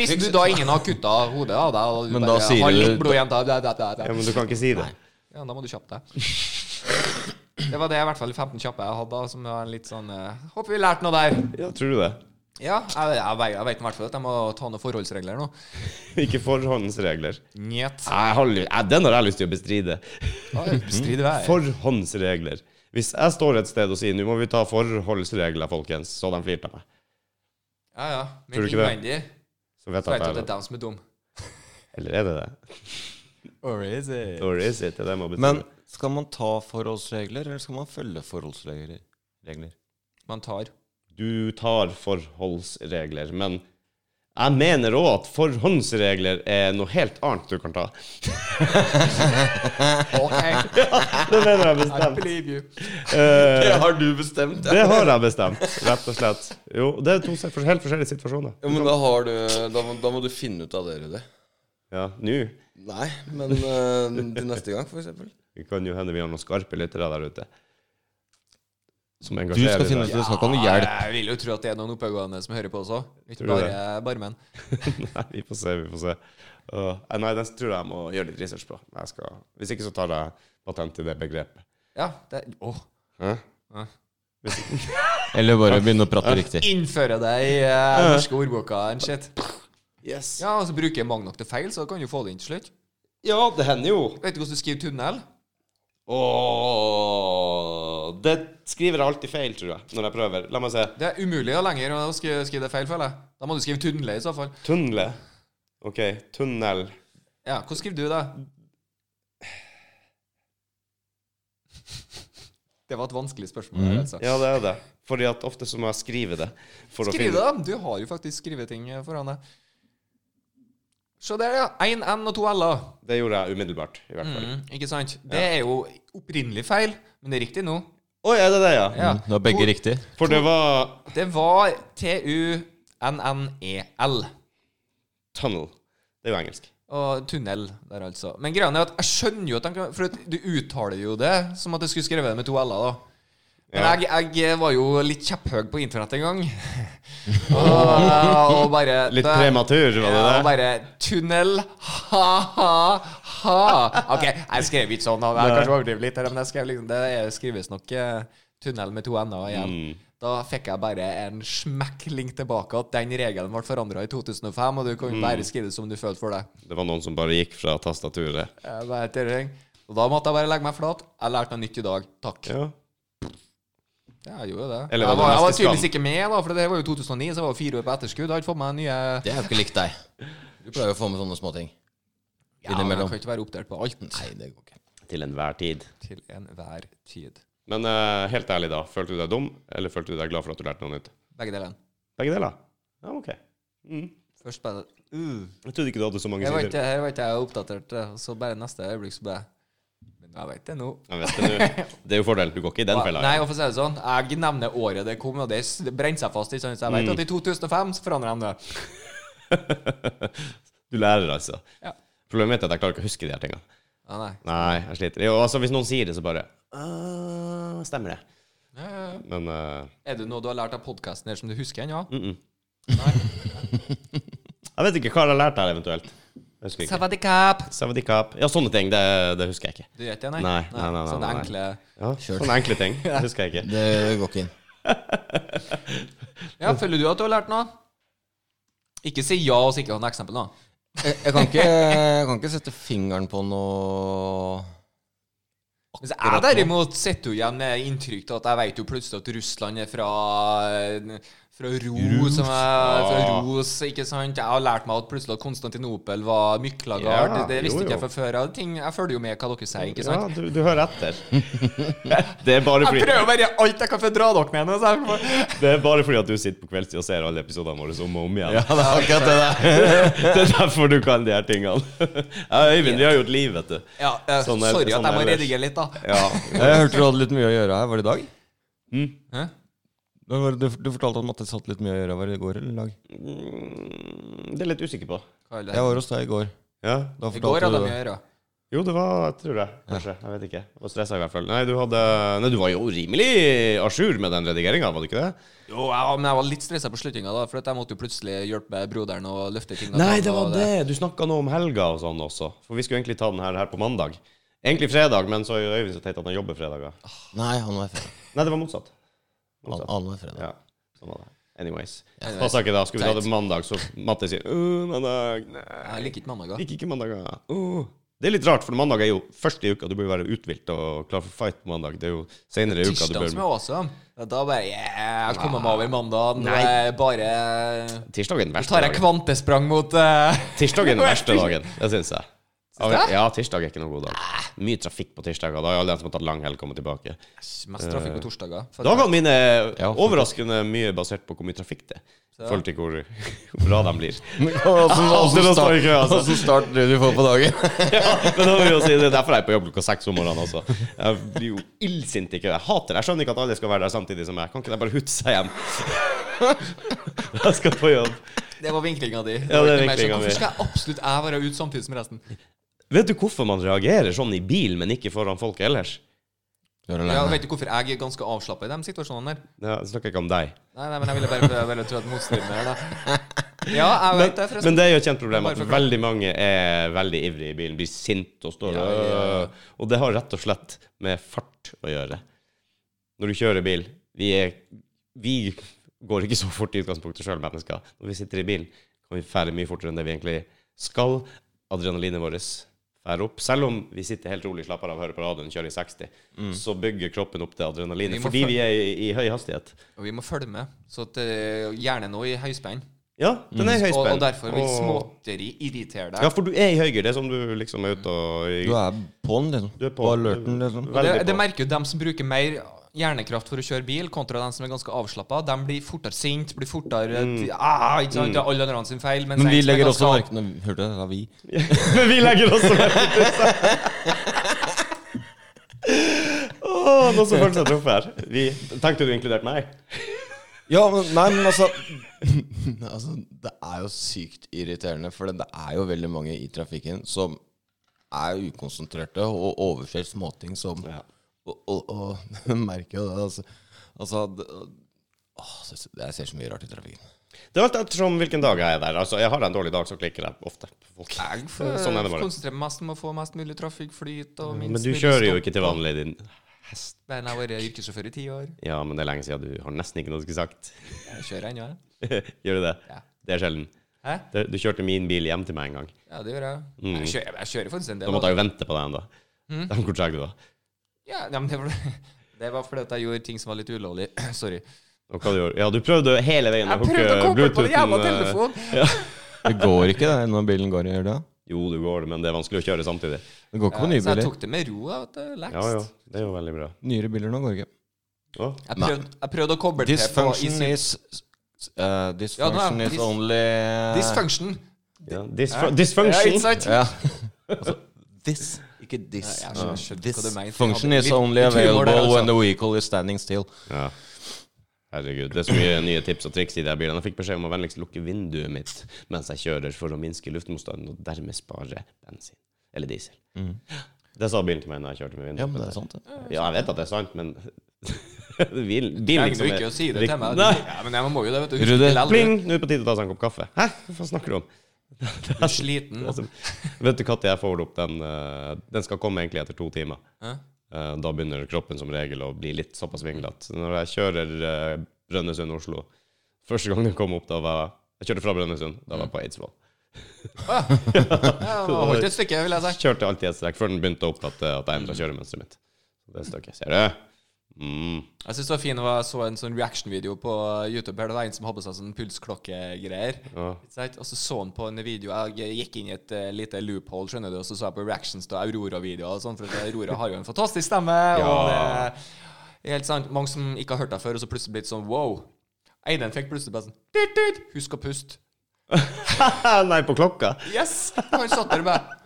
Speaker 3: Hvis du da ingen har kutta hodet av deg, og du
Speaker 1: Men
Speaker 3: bare
Speaker 1: da sier
Speaker 3: har
Speaker 1: du-
Speaker 3: litt blod igjen da, da, da, da,
Speaker 2: Ja,
Speaker 3: da.
Speaker 2: men du kan ikke si det.
Speaker 3: Ja, da må du kjappe deg. Det var det i hvert fall 15 kjappe jeg hadde, som var en litt sånn eh, Håper vi lærte noe der.
Speaker 2: Ja, tror du det?
Speaker 3: Ja, jeg, jeg, vei- jeg veit i hvert fall at jeg må ta noen forholdsregler nå.
Speaker 2: Ikke forhåndsregler.
Speaker 3: Njet.
Speaker 2: Jeg har, ly- jeg- den har jeg lyst til å bestride.
Speaker 3: Strider vei.
Speaker 2: Forhåndsregler. Hvis jeg står et sted og sier 'nå må vi ta forholdsregler', folkens, så de flirte av meg.
Speaker 3: Ja, ja.
Speaker 2: Tror
Speaker 3: Men
Speaker 2: du ikke det?
Speaker 3: innvendig
Speaker 2: Så vet jeg
Speaker 3: så
Speaker 2: at
Speaker 3: vet du at det er
Speaker 2: jeg
Speaker 3: dem som er dum.
Speaker 2: Eller er det det?
Speaker 3: Or is it?
Speaker 2: Or is it? Det er det jeg må bestride.
Speaker 1: Men skal man ta forholdsregler, eller skal man følge forholdsregler? Regler?
Speaker 3: Man tar.
Speaker 2: du tar forholdsregler, men jeg mener òg at forhåndsregler er noe helt annet du kan ta.
Speaker 3: OK,
Speaker 2: Det mener jeg
Speaker 3: I
Speaker 2: bestemt.
Speaker 3: believe you.
Speaker 2: Eh,
Speaker 1: har du bestemt,
Speaker 2: det har jeg bestemt, rett og slett. Jo, det er to se- for- helt forskjellige situasjoner.
Speaker 1: Ja, men da, har du, da, må, da må du finne ut av dere det.
Speaker 2: Ja, nå
Speaker 1: Nei, men eh, til neste gang, for eksempel.
Speaker 2: Det kan jo hende vi har noen skarpe lyttere der ute. Som
Speaker 1: Du
Speaker 2: engasjerer
Speaker 1: skal finne ut
Speaker 2: seg.
Speaker 1: av det, så kan du hjelpe.
Speaker 3: Jeg vil jo tro at det er noen oppegående som hører på også. Ikke
Speaker 2: Tror du
Speaker 3: bare barmenn.
Speaker 2: Nei, vi får se, vi får se. Åh, nei, den tror jeg jeg må gjøre litt research på. Jeg skal, hvis ikke så tar jeg patent i det begrepet.
Speaker 3: Ja, det, åh,
Speaker 2: Hæ?
Speaker 1: Eller bare begynne å prate riktig.
Speaker 3: Innføre det i eh, norske ordboka and shit.
Speaker 2: Yes. Ja.
Speaker 3: Ja, og så bruker jeg mange nok til feil, så kan du få det inn til slutt.
Speaker 2: det hender jo.
Speaker 3: Vet du hvordan du skriver tunnel?
Speaker 2: Åh, det skriver jeg alltid feil, tror jeg, når jeg prøver. La meg se.
Speaker 3: Det er umulig å lenger å skrive, skrive det feil, føler jeg. Da må du skrive tunnel i så fall.
Speaker 2: Tunnel. OK, tunnel.
Speaker 3: Ja, hvordan skriver du det? Det var et vanskelig spørsmål.
Speaker 2: Mhm.
Speaker 3: her, Altså.
Speaker 2: Ja, det er det. Fordi at ofte så må jeg skrive det. For
Speaker 3: Skriv det,
Speaker 2: å finne.
Speaker 3: da! Du har jo faktisk skrevet ting eh, foran deg. Se der, ja. Én N og to L-er.
Speaker 2: Det gjorde jeg umiddelbart, i hvert fall.
Speaker 3: Mm, ikke sant? Det er jo opprinnelig feil, men det er riktig nå.
Speaker 2: Oi, er det det, ja?
Speaker 3: Ja.
Speaker 1: Mm, Det var begge riktig.
Speaker 2: For det var
Speaker 3: Det var T-U-N-N-E-L.
Speaker 2: tunnel. Det er jo engelsk.
Speaker 3: Og tunnel der, altså. Men greia er at jeg skjønner jo at de kan For at du uttaler jo det som at jeg skulle skrevet det med to l-er, da. Men
Speaker 2: Ja.
Speaker 3: jeg, jeg var jo litt kjepphøy på internett en gang. og, og bare
Speaker 2: Litt
Speaker 3: det-
Speaker 2: prematur, var det
Speaker 3: Ja, og
Speaker 2: det?
Speaker 3: bare Tunnel, ha-ha-ha. Ok, jeg skrev ikke sånn. og Jeg kanskje overdriver litt, her, men jeg skrev liksom, det er- skrives nok eh, tunnel med to n-er igjen.
Speaker 2: Mm.
Speaker 3: Da fikk jeg bare en smekkling tilbake at den regelen ble forandra i 2005, og du kan
Speaker 2: Mm.
Speaker 3: bare skrive det som du følte for Eh, det.
Speaker 2: Det var noen som bare gikk fra tastaturet.
Speaker 3: Jeg bare tørring. Og da måtte jeg bare legge meg flat. Jeg lærte noe nytt i dag. Takk.
Speaker 2: Ja.
Speaker 3: Ja, jeg gjorde det.
Speaker 2: Eller var det
Speaker 3: jeg var, jeg var
Speaker 2: neste skam?
Speaker 3: tydeligvis ikke med, da, for det var jo 2009, så jeg var jo fire år på etterskudd. Jeg har ikke fått meg nye
Speaker 4: Det er jo ikke likt deg. Du pleier jo å få med sånne småting.
Speaker 3: ja, men Jeg
Speaker 4: Innimellom.
Speaker 3: kan ikke være oppdatert på alt
Speaker 4: Nei, det går ikke.
Speaker 2: Til enhver tid.
Speaker 3: til enhver tid.
Speaker 2: Men eh, helt ærlig, da. Følte du deg dum, eller følte du deg glad for at du lærte noe nytt?
Speaker 3: Begge delene.
Speaker 2: Begge deler. Ja, OK. Mm.
Speaker 3: Først bare uh,
Speaker 2: Jeg trodde ikke du hadde så mange
Speaker 3: Jeg var
Speaker 2: sider.
Speaker 3: ikke, jeg var ikke jeg oppdatert, eh, og så bare neste øyeblikk så bare Men jeg vet det nå.
Speaker 2: Jeg vet det, nå. det er jo fordelen. Du går ikke i den fella.
Speaker 3: Nei, og for å si det sånn, jeg nevner året det kom, og det s- det brente seg fast. Ikke sant? Så jeg
Speaker 2: Mm.
Speaker 3: vet at i 2005 så forandrer de det.
Speaker 2: Du lærer, altså.
Speaker 3: Ja.
Speaker 2: Problemet mitt er at jeg klarer ikke å huske de her tingene.
Speaker 3: Ja, nei.
Speaker 2: Nei, jeg sliter. Jo, altså, hvis noen sier det, så bare «Ah, Stemmer det.
Speaker 3: Ja, ja, ja.
Speaker 2: Men eh,
Speaker 3: Er det noe du har lært av podkasten her som du husker ennå?
Speaker 2: mm -mm. Jeg vet ikke hva jeg har lært her, eventuelt. Jeg husker ikke.
Speaker 3: Savadikap!
Speaker 2: Savadikap. Ja, sånne ting. Det, det husker jeg ikke.
Speaker 3: Du vet det, nei?
Speaker 2: Nei, nei, nei, nei,
Speaker 3: Sånne
Speaker 2: nei.
Speaker 3: enkle
Speaker 2: Ja, sånne enkle ting. Det husker jeg ikke.
Speaker 4: Det går ikke inn.
Speaker 3: Ja, føler du at du har lært noe? Ikke si ja og så ikke ha noe eksempel, da.
Speaker 4: Jeg, jeg, kan ikke, jeg kan ikke sette fingeren på noe
Speaker 3: Mens jeg derimot sitter jo igjen med inntrykk til at jeg vet jo plutselig at Russland er fra eh, fra Ros, som er, fra
Speaker 2: Ja.
Speaker 3: Ros ikke sant? Jeg har lært meg at plutselig at Konstantinopel var Myklagard.
Speaker 2: Ja,
Speaker 3: det, det visste
Speaker 2: jo,
Speaker 3: ikke
Speaker 2: jo.
Speaker 3: jeg fra før av. Ting- Jeg følger jo med hva dere sier, ikke sant?
Speaker 2: Ja, du, du hører etter. Det er bare
Speaker 3: Jeg
Speaker 2: fordi
Speaker 3: prøver å gjøre alt jeg kan for å dra dere med. nå, så jeg får-
Speaker 2: Det er bare fordi at du sitter på kveldstid og ser alle episodene våre om og om igjen.
Speaker 4: det er akkurat det der.
Speaker 2: Det er derfor du kan de her tingene. Ja, Øyvind, vi har gjort liv, vet du.
Speaker 3: Ja, eh,
Speaker 2: Sånn er-
Speaker 3: sorry
Speaker 2: sånn
Speaker 3: at jeg må
Speaker 2: ellers.
Speaker 3: redigere litt, da.
Speaker 2: Ja.
Speaker 1: Jeg hørte du hadde litt mye å gjøre her. Var det i dag?
Speaker 3: Hæ?
Speaker 1: Det var- Du, du fortalte at Mattis hadde litt mye å gjøre. Var det i går eller i dag?
Speaker 2: Mm, Det er jeg litt usikker på.
Speaker 3: Hva er det?
Speaker 1: Jeg var hos deg i går.
Speaker 2: Ja.
Speaker 1: Da
Speaker 3: I går
Speaker 1: fortalte
Speaker 3: hadde
Speaker 1: du
Speaker 3: jeg mye
Speaker 1: det.
Speaker 3: å gjøre.
Speaker 2: Jo, det var Tror jeg. Kanskje. Jeg vet ikke. Jeg var stressa i hvert fall. Nei, du hadde Nei, du var jo rimelig à jour med den redigeringa, var du ikke det?
Speaker 3: Jo, jeg, men jeg var litt stressa på slutninga, da, for at jeg måtte jo plutselig hjelpe broderen å løfte ting. og
Speaker 2: Nei,
Speaker 3: ta
Speaker 2: det
Speaker 3: på
Speaker 2: var det. Du snakka noe om helga og sånn også. For vi skulle egentlig ta den her, her på mandag. Egentlig fredag, men så er Øyvind så teit at han jobber fredager.
Speaker 3: Ah.
Speaker 4: Nei, han var fredag.
Speaker 2: Nei, det var motsatt.
Speaker 4: Han,
Speaker 2: motsatt.
Speaker 4: han var fredag.
Speaker 2: Ja, sånn var det. Anyways.
Speaker 3: Anyways.
Speaker 2: Passa ikke da. Skulle vi ta det
Speaker 4: Teit.
Speaker 2: på mandag, så Matte sier «Øh, mandag. Nei,
Speaker 3: Jeg liker ikke mandager.
Speaker 2: liker ikke mandager. Åh». Det er litt rart, for mandag er jo først i uka. Du bør være uthvilt og klar for fight på mandag. Det er jo senere i uka du
Speaker 3: Tirsdag
Speaker 2: bør
Speaker 3: som er awesome. Ja, Da bare yeah, Jeg kommer meg over mandagen.
Speaker 2: Ah, Nei.
Speaker 3: Nei. Bare
Speaker 2: Tirsdag er den
Speaker 3: Så
Speaker 2: verste
Speaker 3: tar jeg
Speaker 2: dagen.
Speaker 3: kvantesprang mot eh,
Speaker 2: Tirsdag er den verste dagen, det syns jeg.
Speaker 3: du det?
Speaker 2: Ja, tirsdag er ikke noen god dag. Mye trafikk på tirsdager. Da er alle de som har tatt lang helg, kommet tilbake.
Speaker 3: Mest trafikk på
Speaker 2: Eh,
Speaker 3: torsdager. For
Speaker 2: Dagene mine er
Speaker 1: Ja, for-
Speaker 2: overraskende mye basert på hvor mye trafikk det er. I forhold til hvor hvor bra de blir. Alltid å
Speaker 1: Åssen
Speaker 2: stå i kø, altså.
Speaker 1: start du får på dagen?
Speaker 2: Ja, men da vil jeg si, det er derfor jeg er på jobb klokka seks om morgenen også. Jeg blir jo illsint ikke. Jeg hater det. Jeg skjønner ikke at alle skal være der samtidig som meg. Kan ikke de bare hutse seg hjem? Jeg skal på jobb.
Speaker 3: Det var vinklinga di.
Speaker 2: Ja, det er
Speaker 3: var ikke mer sånn,
Speaker 2: vinklinga mi.
Speaker 3: Hvorfor skal jeg absolutt jeg være ute samtidig som resten?
Speaker 2: Vet du hvorfor man reagerer sånn i bil, men ikke foran folk ellers?
Speaker 1: Du er
Speaker 3: Ja,
Speaker 1: alene.
Speaker 3: vet du hvorfor jeg er ganske avslappa i de situasjonene der?
Speaker 2: Ja, Jeg snakker ikke om deg.
Speaker 3: Nei, nei, men jeg ville bare, jeg ville tro at motstanderen er det. Ja, jeg vet det, forresten.
Speaker 2: Men det er jo et kjent problem
Speaker 3: Bare
Speaker 2: at
Speaker 3: forklar.
Speaker 2: veldig mange er veldig ivrige i bilen, blir sint og står
Speaker 3: Ja, ja, ja.
Speaker 2: «Øh». Og det har rett og slett med fart å gjøre. når du kjører bil Vi, er, vi går ikke så fort i utgangspunktet sjøl, mennesker. Når vi sitter i bilen, kan vi fære mye fortere enn det vi egentlig skal. Adrenalinet vårt færer opp. Selv om vi sitter helt rolig, slapper av, hører på radioen, kjører i 60, så bygger kroppen opp det
Speaker 3: Mm. Vi
Speaker 2: adrenalinet
Speaker 3: må
Speaker 2: fordi
Speaker 3: følge-
Speaker 2: vi er i, i høy hastighet.
Speaker 3: Og vi må følge med. Så at, eh, gjerne nå i høyspenn.
Speaker 2: Ja, den er i
Speaker 3: Og,
Speaker 2: høyspenn.
Speaker 3: Mm. og derfor vil
Speaker 2: Og-
Speaker 3: småtteri irritere deg.
Speaker 2: Ja, for du er i høyre. Det er som du liksom er ute og
Speaker 4: Du er på'n, liksom.
Speaker 2: Du er på.
Speaker 4: på alerten, liksom.
Speaker 3: det,
Speaker 2: Veldig
Speaker 3: det
Speaker 2: på.
Speaker 3: merker jo dem som bruker mer hjernekraft for å kjøre bil, kontra dem som er ganske avslappa. De blir fortere sint, blir fortere
Speaker 2: Mm.
Speaker 3: ah, ikke sant? Det er alle andre sin feil. mens
Speaker 4: Men vi
Speaker 3: en som er
Speaker 4: legger
Speaker 3: ganske
Speaker 4: også
Speaker 3: av-
Speaker 4: merke Nei, Hørte du det? Det er vi.
Speaker 2: Men vi legger også merke til det. Åh, noen som følte seg truffet her. Vi, tenkte du inkludert meg?
Speaker 4: Ja, men, nei, men altså, altså Det er jo sykt irriterende, for det er jo veldig mange i trafikken som er ukonsentrerte og overser småting som Og, og, og jeg merker jo det, altså. altså det, åh, det- jeg ser så mye rart i trafikken.
Speaker 2: Det er alt ettersom hvilken dag jeg er der. Altså, jeg har en dårlig dag, så klikker jeg ofte på folk.
Speaker 3: Jeg får
Speaker 2: Sånn er det bare.
Speaker 3: konsentrere meg mest om å få mest mulig trafikkflyt og minst
Speaker 2: Men du
Speaker 3: mulig
Speaker 2: kjører jo
Speaker 3: stopp.
Speaker 2: ikke til vanlig din hest.
Speaker 3: Men jeg har vært yrkessjåfør i ti år.
Speaker 2: Ja, men det er lenge siden du har nesten ikke noe du skulle sagt.
Speaker 3: Jeg kjører ennå, jeg.
Speaker 2: Gjør du det?
Speaker 3: Ja.
Speaker 2: Det er sjelden.
Speaker 3: Hæ?
Speaker 2: Det- Du kjørte min bil hjem til meg en gang.
Speaker 3: Ja, det gjør jeg. Jeg kjører, jeg kjører faktisk en
Speaker 2: Mm. Da
Speaker 3: del.
Speaker 2: måtte
Speaker 3: da.
Speaker 2: jeg jo vente på deg ennå. Hvor treg du var.
Speaker 3: Ja, ja, men det, var, det var fordi at jeg gjorde ting som var litt ulovlig. Sorry.
Speaker 2: Og hva du gjorde? Ja, du prøvde hele veien
Speaker 3: Jeg prøvde å koble på den jævla
Speaker 2: Bluetoothen, eh,
Speaker 3: telefonen!
Speaker 4: Det går ikke det når bilen går i hjørnet.
Speaker 2: Jo, du går, men det er vanskelig å kjøre samtidig.
Speaker 4: Det går ikke på nye
Speaker 3: Så jeg
Speaker 4: biler.
Speaker 3: tok det med ro. da, vet du. Relaxed.
Speaker 2: Ja, ja. Det er jo veldig bra.
Speaker 4: Nyere biler nå går ikke.
Speaker 2: Å,
Speaker 3: Jeg, prøvde, jeg prøvde å koble til på
Speaker 4: Dysfunction
Speaker 3: i-
Speaker 4: is eh,
Speaker 3: Ja,
Speaker 4: Dysfunction
Speaker 3: nå er-
Speaker 4: is only
Speaker 3: Dysfunction.
Speaker 2: ja. Dysf- Dysfunction.
Speaker 4: eh, Ja. Altså, this, ikke this.
Speaker 3: Nei, jeg skjønner- skjønner hva du mener.
Speaker 4: function
Speaker 3: Ja,
Speaker 4: is
Speaker 3: litt-
Speaker 4: only
Speaker 3: litt humor
Speaker 4: available
Speaker 3: der, altså.
Speaker 4: when the vehicle is standing still.
Speaker 2: Ja. Herregud, det er så mye nye tips og triks i de her bilene. Jeg fikk beskjed om å vennligst lukke vinduet mitt mens jeg kjører, for å minske luftmotstanden og dermed spare bensin. Eller diesel. Det sa bilen til meg når jeg kjørte med
Speaker 4: Mm.
Speaker 2: vinduet.
Speaker 4: Ja, men det er sant, det.
Speaker 2: Ja, jeg vet at det er sant, men Bil, bilen
Speaker 3: Jeg
Speaker 2: liksom
Speaker 3: gidder ikke å si det til meg.
Speaker 2: Nei.
Speaker 3: Ja, men jeg må jo det, vet du.
Speaker 4: Rudi,
Speaker 3: Husker aldri.
Speaker 2: Pling! Nå er det på tide å ta seg en kopp kaffe. Hæ, hva snakker du om?
Speaker 3: Du er sliten.
Speaker 2: Altså, vet du når jeg får opp den? eh, Den skal komme egentlig etter to timer.
Speaker 3: Hæ?
Speaker 2: Eh, Da begynner kroppen som regel å bli litt såpass vinglete. Når jeg kjører eh, Brønnøysund-Oslo Første gang den kom opp, da var jeg Jeg kjørte fra Brønnøysund, da var jeg på Eidsvoll.
Speaker 3: Ja, jeg har holdt et stykke, vil jeg si.
Speaker 2: Jeg kjørte alltid et strekk før den begynte å oppfatte at jeg endra
Speaker 3: Mm.
Speaker 2: kjøremønsteret mitt. Så Det støkket. Ser du? Mm.
Speaker 3: Jeg synes det var fint å så en sånn reaction-video på YouTube her. Det var en som hadde på seg sånn pulsklokkegreier.
Speaker 2: Ja.
Speaker 3: Ikke sant? Og så så han på en video Jeg gikk inn i et eh, lite loophole, skjønner du, og så så jeg på reactions til Aurora-videoer og sånn, for at Aurora har jo en fantastisk stemme, og
Speaker 2: Ja.
Speaker 3: det er helt sant. Mange som ikke har hørt deg før, og så plutselig blitt sånn wow. Eidan fikk plutselig bare sånn tut, tut, Husk å puste.
Speaker 2: Nei, på klokka.
Speaker 3: Yes! Han satt der bare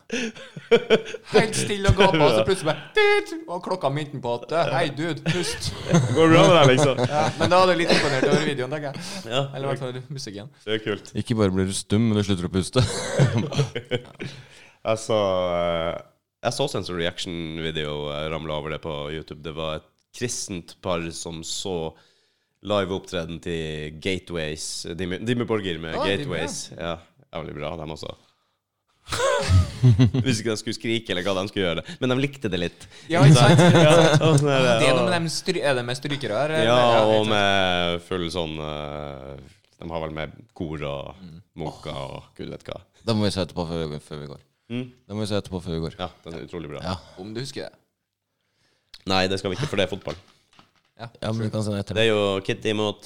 Speaker 3: helt stille og gapa, og så plutselig bare tut, Og klokka minte han på at eh, Hei, dude, pust.
Speaker 2: Går det bra med deg, liksom?
Speaker 3: Ja, men da er du litt imponert over videoen, tenker jeg.
Speaker 2: Ja,
Speaker 3: Eller i hvert fall musikken.
Speaker 2: det er kult.
Speaker 4: Ikke bare blir du stum, men du slutter å puste.
Speaker 2: Jeg så, eh, jeg så også en sånn reaction-video eh, ramle over det på YouTube. Det var et kristent par som så live opptreden til Gateways. Dimmy Dimmy Borgir med
Speaker 3: Ah, Dimmy,
Speaker 2: Gateways. Ja, Jævlig bra, dem også. Hvis ikke de skulle skrike eller hva de skulle gjøre. Men de likte det litt.
Speaker 3: Ja, ikke sant?
Speaker 2: Ja, og sånn der,
Speaker 3: Det er noe
Speaker 2: og-
Speaker 3: med dem stry Er det med strykere her? eller?
Speaker 2: Ja,
Speaker 3: ikke
Speaker 2: og
Speaker 3: sant?
Speaker 2: med full sånn eh, De har vel med kor og
Speaker 3: Mm.
Speaker 2: munker og gud vet hva.
Speaker 4: Da må vi se etterpå før vi går. Før vi går. Da må vi se etterpå før vi går.
Speaker 2: Ja, den er utrolig bra.
Speaker 4: Ja.
Speaker 3: Om du husker det.
Speaker 2: Nei, det skal vi ikke, for det er fotball.
Speaker 4: Ja, men vi kan se den
Speaker 2: Det
Speaker 4: etterpå.
Speaker 2: er jo Kitty mot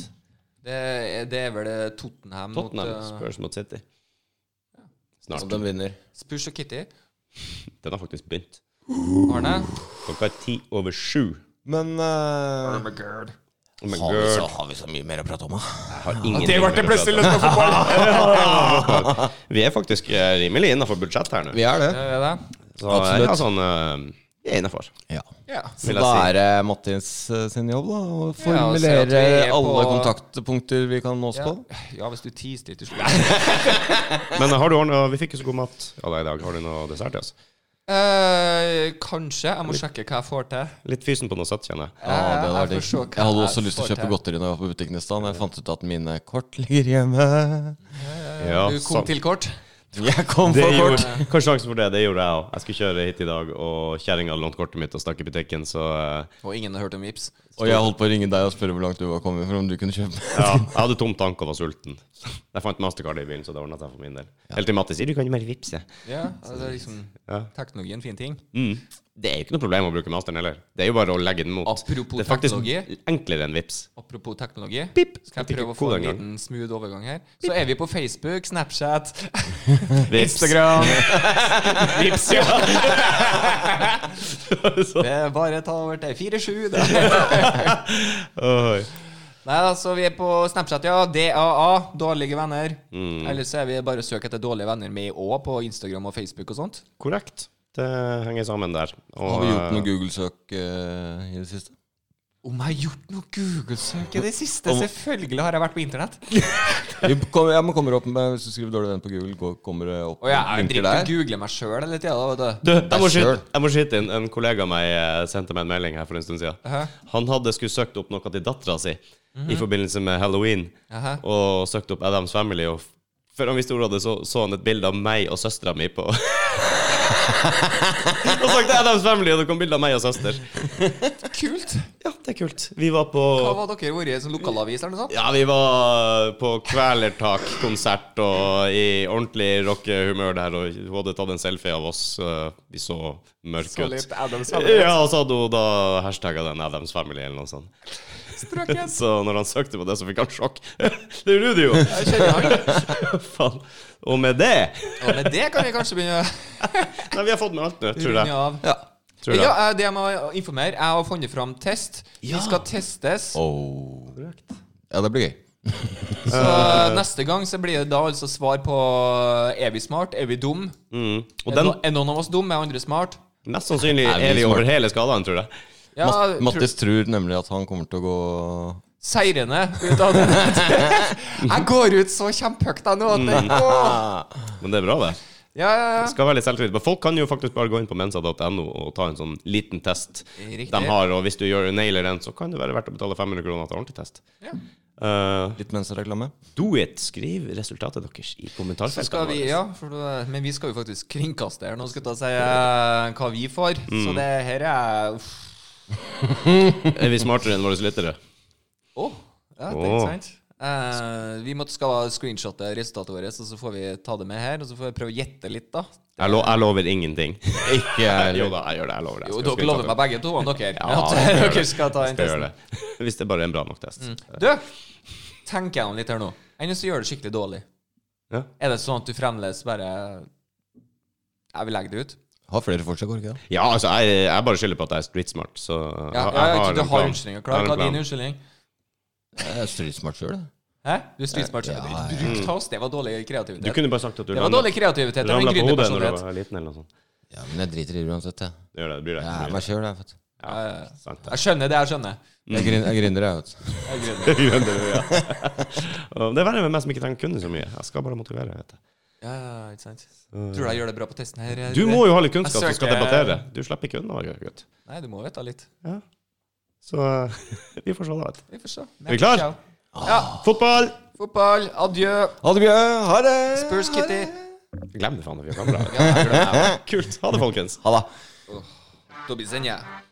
Speaker 3: Det er, det er vel eh, Tottenham,
Speaker 2: Tottenham.
Speaker 3: mot eh,
Speaker 2: Spurs mot City.
Speaker 4: Så
Speaker 2: Snart.
Speaker 4: den vinner.
Speaker 3: Spurs og Kitty.
Speaker 2: Den har faktisk begynt.
Speaker 3: Arne?
Speaker 2: Klokka er ti over sju.
Speaker 4: Men eh,
Speaker 2: Men
Speaker 4: har, vi så,
Speaker 2: girl,
Speaker 4: har vi så mye mer å prate om, da?
Speaker 2: jeg har ingen
Speaker 3: løst på fotball!
Speaker 2: Vi er faktisk eh, rimelig innafor budsjett her nå.
Speaker 4: Vi er det.
Speaker 3: Det er det.
Speaker 2: Så
Speaker 4: absolutt.
Speaker 2: ja, sånn eh, Vi er innafor.
Speaker 4: Ja.
Speaker 3: Ja.
Speaker 4: Så
Speaker 2: Vil jeg
Speaker 4: da
Speaker 2: si.
Speaker 4: er det Mattis eh, sin jobb, da, å
Speaker 3: Ja, og se at vi
Speaker 4: formulere
Speaker 3: er på-
Speaker 4: alle kontaktpunkter vi kan nås
Speaker 3: Ja.
Speaker 4: på.
Speaker 3: ja, hvis du teaser litt i slutten.
Speaker 2: Men har du ordna Vi fikk jo så god mat av deg i dag. Har du noe dessert til oss?
Speaker 3: Eh, kanskje. Jeg må sjekke hva jeg får til. Eh,
Speaker 2: Litt fysen på noe søtt, kjenner jeg.
Speaker 4: Ja, det hadde vært digg.
Speaker 3: jeg får se hva
Speaker 4: Jeg hadde
Speaker 3: jeg
Speaker 4: også lyst til å
Speaker 3: får
Speaker 4: kjøpe
Speaker 3: til.
Speaker 4: godteri når jeg var på butikken i stad, men jeg fant ut at mine kort ligger hjemme.
Speaker 2: Ja,
Speaker 3: Eh, Du
Speaker 2: sam-
Speaker 3: kom til kort.
Speaker 4: Jeg kom
Speaker 2: Det
Speaker 4: for kort.
Speaker 2: gjorde, hva er sjansen for det? Det gjorde jeg òg. Jeg skulle kjøre hit i dag, og kjerringa lånte kortet mitt og stakk i butikken, så eh,
Speaker 3: Og ingen har hørt om Vips
Speaker 4: Og jeg holdt på å ringe deg og spørre hvor langt du var kommet, for om du kunne kjøpe
Speaker 2: ja, jeg hadde tom tank og var sulten. Jeg fant mastercard i bilen, så det ordna seg for min del. Helt til Mattis sier du kan jo bare vippse.
Speaker 3: Ja, altså liksom
Speaker 2: Ja.
Speaker 3: Teknologi er en fin ting.
Speaker 2: Mm. Det er jo ikke noe problem å bruke masteren heller. Det er jo bare å legge den mot.
Speaker 3: Apropos
Speaker 2: Det er faktisk
Speaker 3: teknologi.
Speaker 2: enklere enn vips.
Speaker 3: Apropos teknologi,
Speaker 2: Pip.
Speaker 3: skal
Speaker 2: Vet
Speaker 3: jeg
Speaker 2: ikke
Speaker 3: prøve å få
Speaker 2: hvor
Speaker 3: en
Speaker 2: den
Speaker 3: liten smooth overgang her. Så er vi på Facebook, Snapchat,
Speaker 2: Vips.
Speaker 3: Instagram
Speaker 2: vips ja.
Speaker 3: Det er bare ta over til 47. det.
Speaker 2: Oi.
Speaker 3: Nei, altså, vi er på Snapchat, ja. DAA, dårlige venner.
Speaker 2: Mm.
Speaker 3: Ellers så er vi bare søk etter dårlige venner med òg, på Instagram og Facebook og sånt.
Speaker 2: Korrekt. Det henger sammen der. Og,
Speaker 4: Har vi gjort noe Google-søk eh, i det siste?
Speaker 3: Om jeg har gjort noe Google-søk i det siste?
Speaker 4: Om-
Speaker 3: Selvfølgelig har jeg vært på internett.
Speaker 4: Vi kom, ja, men kommer opp med, Hvis du skriver dårlig venn på Google, går, kommer det opp
Speaker 3: Og jeg er
Speaker 4: linker
Speaker 3: dritt å
Speaker 4: der?
Speaker 3: google meg sjøl hele tida, vet du.
Speaker 2: Du, jeg må,
Speaker 4: Deg
Speaker 2: skyte,
Speaker 4: selv.
Speaker 2: jeg må skyte inn. En kollega av meg eh, sendte meg en melding her for en stund siden.
Speaker 3: Aha.
Speaker 2: Han hadde skulle søkt opp noe til dattera si i forbindelse med halloween,
Speaker 3: Aha.
Speaker 2: og søkt opp Adams Family. Og f- før han visste ordet av det, så, så han et bilde av meg og søstera mi på Og søkte Adams Family, og det kom bilde av meg og søster.
Speaker 3: Kult.
Speaker 2: Ja, det er kult. Vi var
Speaker 3: Hva
Speaker 2: på
Speaker 3: var dere vært som lokalavis eller noe sånt?
Speaker 2: ja, vi var på Kvelertak-konsert og i ordentlig rockehumør der, og hun hadde tatt en selfie av oss. eh, Vi så mørke
Speaker 3: Så
Speaker 2: ut.
Speaker 3: litt Adams
Speaker 2: Ja, og så hadde hun da hashtagga den Adams Family eller noe sånt.
Speaker 3: Family-strøken.
Speaker 2: Så når han søkte på det, så fikk han sjokk. Det gjorde du jo!
Speaker 3: Jeg kjenner han.
Speaker 2: Faen. Og med det
Speaker 3: Og med det kan vi kanskje begynne
Speaker 2: Nei, vi har fått med alt nå,
Speaker 3: å
Speaker 2: tror
Speaker 3: runde
Speaker 2: jeg.
Speaker 3: av.
Speaker 4: Ja.
Speaker 2: Tror
Speaker 3: Ja,
Speaker 2: jeg.
Speaker 3: eh, det jeg må informere Jeg har funnet fram test. Vi skal testes.
Speaker 4: Oh. ja, det blir gøy.
Speaker 3: Så
Speaker 2: Eh,
Speaker 3: eh, neste gang så blir det da altså svar på eh, Er vi smart? Er vi dum?
Speaker 2: Mm. Og
Speaker 3: Er
Speaker 2: den
Speaker 3: no- Er noen av oss dum? Er andre smart?
Speaker 2: mest sannsynlig
Speaker 4: Er vi
Speaker 2: er vi
Speaker 4: smart?
Speaker 2: over hele skalaen, tror jeg.
Speaker 3: Ja,
Speaker 4: Mat-
Speaker 3: tro-
Speaker 4: Mattis tror nemlig at han kommer til å gå
Speaker 3: seirende ut av den. Jeg går ut så kjempehøyt da nå. At det, Åh.
Speaker 2: Men det er bra, det.
Speaker 3: ja, ja, ja.
Speaker 2: Mm. Skal være litt selvtillit. Men folk kan jo faktisk bare gå inn på mensa.no og ta en sånn liten test
Speaker 3: Riktig.
Speaker 2: de har, og hvis du gjør nailer den, så kan det være verdt å betale 500 kroner til ordentlig test.
Speaker 3: Ja.
Speaker 2: Eh,
Speaker 4: litt mensereklame.
Speaker 2: do it! Skriv resultatet deres i
Speaker 3: Så
Speaker 2: kommentarfeltene.
Speaker 3: skal vi,
Speaker 2: våre.
Speaker 3: ja, for, det- men vi skal jo faktisk kringkaste her nå, skal jeg ta og si eh, hva vi får.
Speaker 2: Mm.
Speaker 3: Så det her er uff.
Speaker 2: Er vi smartere enn våre lyttere?
Speaker 3: Åh, ja, det er
Speaker 2: Åh.
Speaker 3: ikke sant. Eh, vi måtte skal screenshotte resultatet vårt, og så får vi ta det med her. Og så får vi prøve å gjette litt, da.
Speaker 2: Jeg, lo jeg lover ingenting.
Speaker 4: Ikke jeg
Speaker 2: jo da, jeg gjør det. Jeg lover det. Jeg
Speaker 3: Jo,
Speaker 2: skal
Speaker 3: dere
Speaker 2: screenshot
Speaker 3: lover meg
Speaker 2: det.
Speaker 3: begge to, om dere.
Speaker 2: Ja,
Speaker 3: at
Speaker 2: jeg gjør
Speaker 3: dere
Speaker 2: det.
Speaker 3: skal ta
Speaker 2: Jeg
Speaker 3: en
Speaker 2: skal gjøre
Speaker 3: test.
Speaker 2: det. Mm. Hvis det bare er en bra nok test.
Speaker 3: Du, tenker jeg om litt her nå. Enn så gjør det skikkelig dårlig.
Speaker 2: Ja.
Speaker 3: Er det sånn at du fremdeles bare Jeg vil legge det ut?
Speaker 4: Har flere fortsatt, går ikke det?
Speaker 2: Ja, altså, jeg, jeg bare skylder på at jeg er street smart, så
Speaker 3: Ja,
Speaker 2: jeg-
Speaker 3: ja,
Speaker 2: jeg
Speaker 3: ja,
Speaker 2: har
Speaker 3: ikke, du
Speaker 2: en
Speaker 3: har
Speaker 2: plan.
Speaker 3: unnskyldninger
Speaker 2: Jeg har en
Speaker 3: klar. Hva er din
Speaker 2: plan.
Speaker 3: unnskyldning?
Speaker 4: Jeg er stritsmart sjøl, jeg.
Speaker 3: Hæ? Du er streetsmart.
Speaker 4: Ja, ja, ja.
Speaker 3: Bruk oss. Det var dårlig
Speaker 2: Du
Speaker 3: kreativitet.
Speaker 2: kunne bare sagt at du
Speaker 3: Det var dårlig kreativitet. Det var en
Speaker 2: ramla på
Speaker 3: gründer
Speaker 2: hodet når du
Speaker 3: personlighet.
Speaker 2: var liten, eller noe sånt.
Speaker 4: Ja, men jeg driter i det uansett, jeg.
Speaker 2: Det gjør det, det blir det.
Speaker 4: Jeg er
Speaker 2: det blir
Speaker 4: meg sjøl, jeg. vet du.
Speaker 2: det.
Speaker 3: Ja,
Speaker 2: Ja,
Speaker 3: ja, ja.
Speaker 2: sant det.
Speaker 3: Jeg skjønner det, jeg skjønner.
Speaker 4: Jeg grin- jeg grinder, jeg, vet du.
Speaker 3: Jeg grunner.
Speaker 2: Og Det er verre med meg som ikke trenger å kunne så mye. Jeg skal bare motivere. Vet jeg.
Speaker 3: Ja, ja, ikke sant. Tror du jeg gjør det bra på testen her?
Speaker 2: Du må jo ha litt kunnskap
Speaker 3: Jeg
Speaker 2: du skal
Speaker 3: søker-
Speaker 2: debattere. Du slipper ikke unna, gutt.
Speaker 3: Nei, du må vite litt.
Speaker 2: Ja. Så vi får se, da. vet du.
Speaker 3: Vi får se.
Speaker 2: Er vi klar?
Speaker 3: Ja.
Speaker 2: Fotball!
Speaker 3: Fotball. Adjø.
Speaker 4: Ha det, Bjørn. Ha det.
Speaker 3: Spurs Kitty.
Speaker 2: Glem det, faen. Vi har kamera.
Speaker 3: Ja, jeg gjør det.
Speaker 2: Kult. Ha det, folkens.
Speaker 4: Ha det.
Speaker 3: Da blir det sending.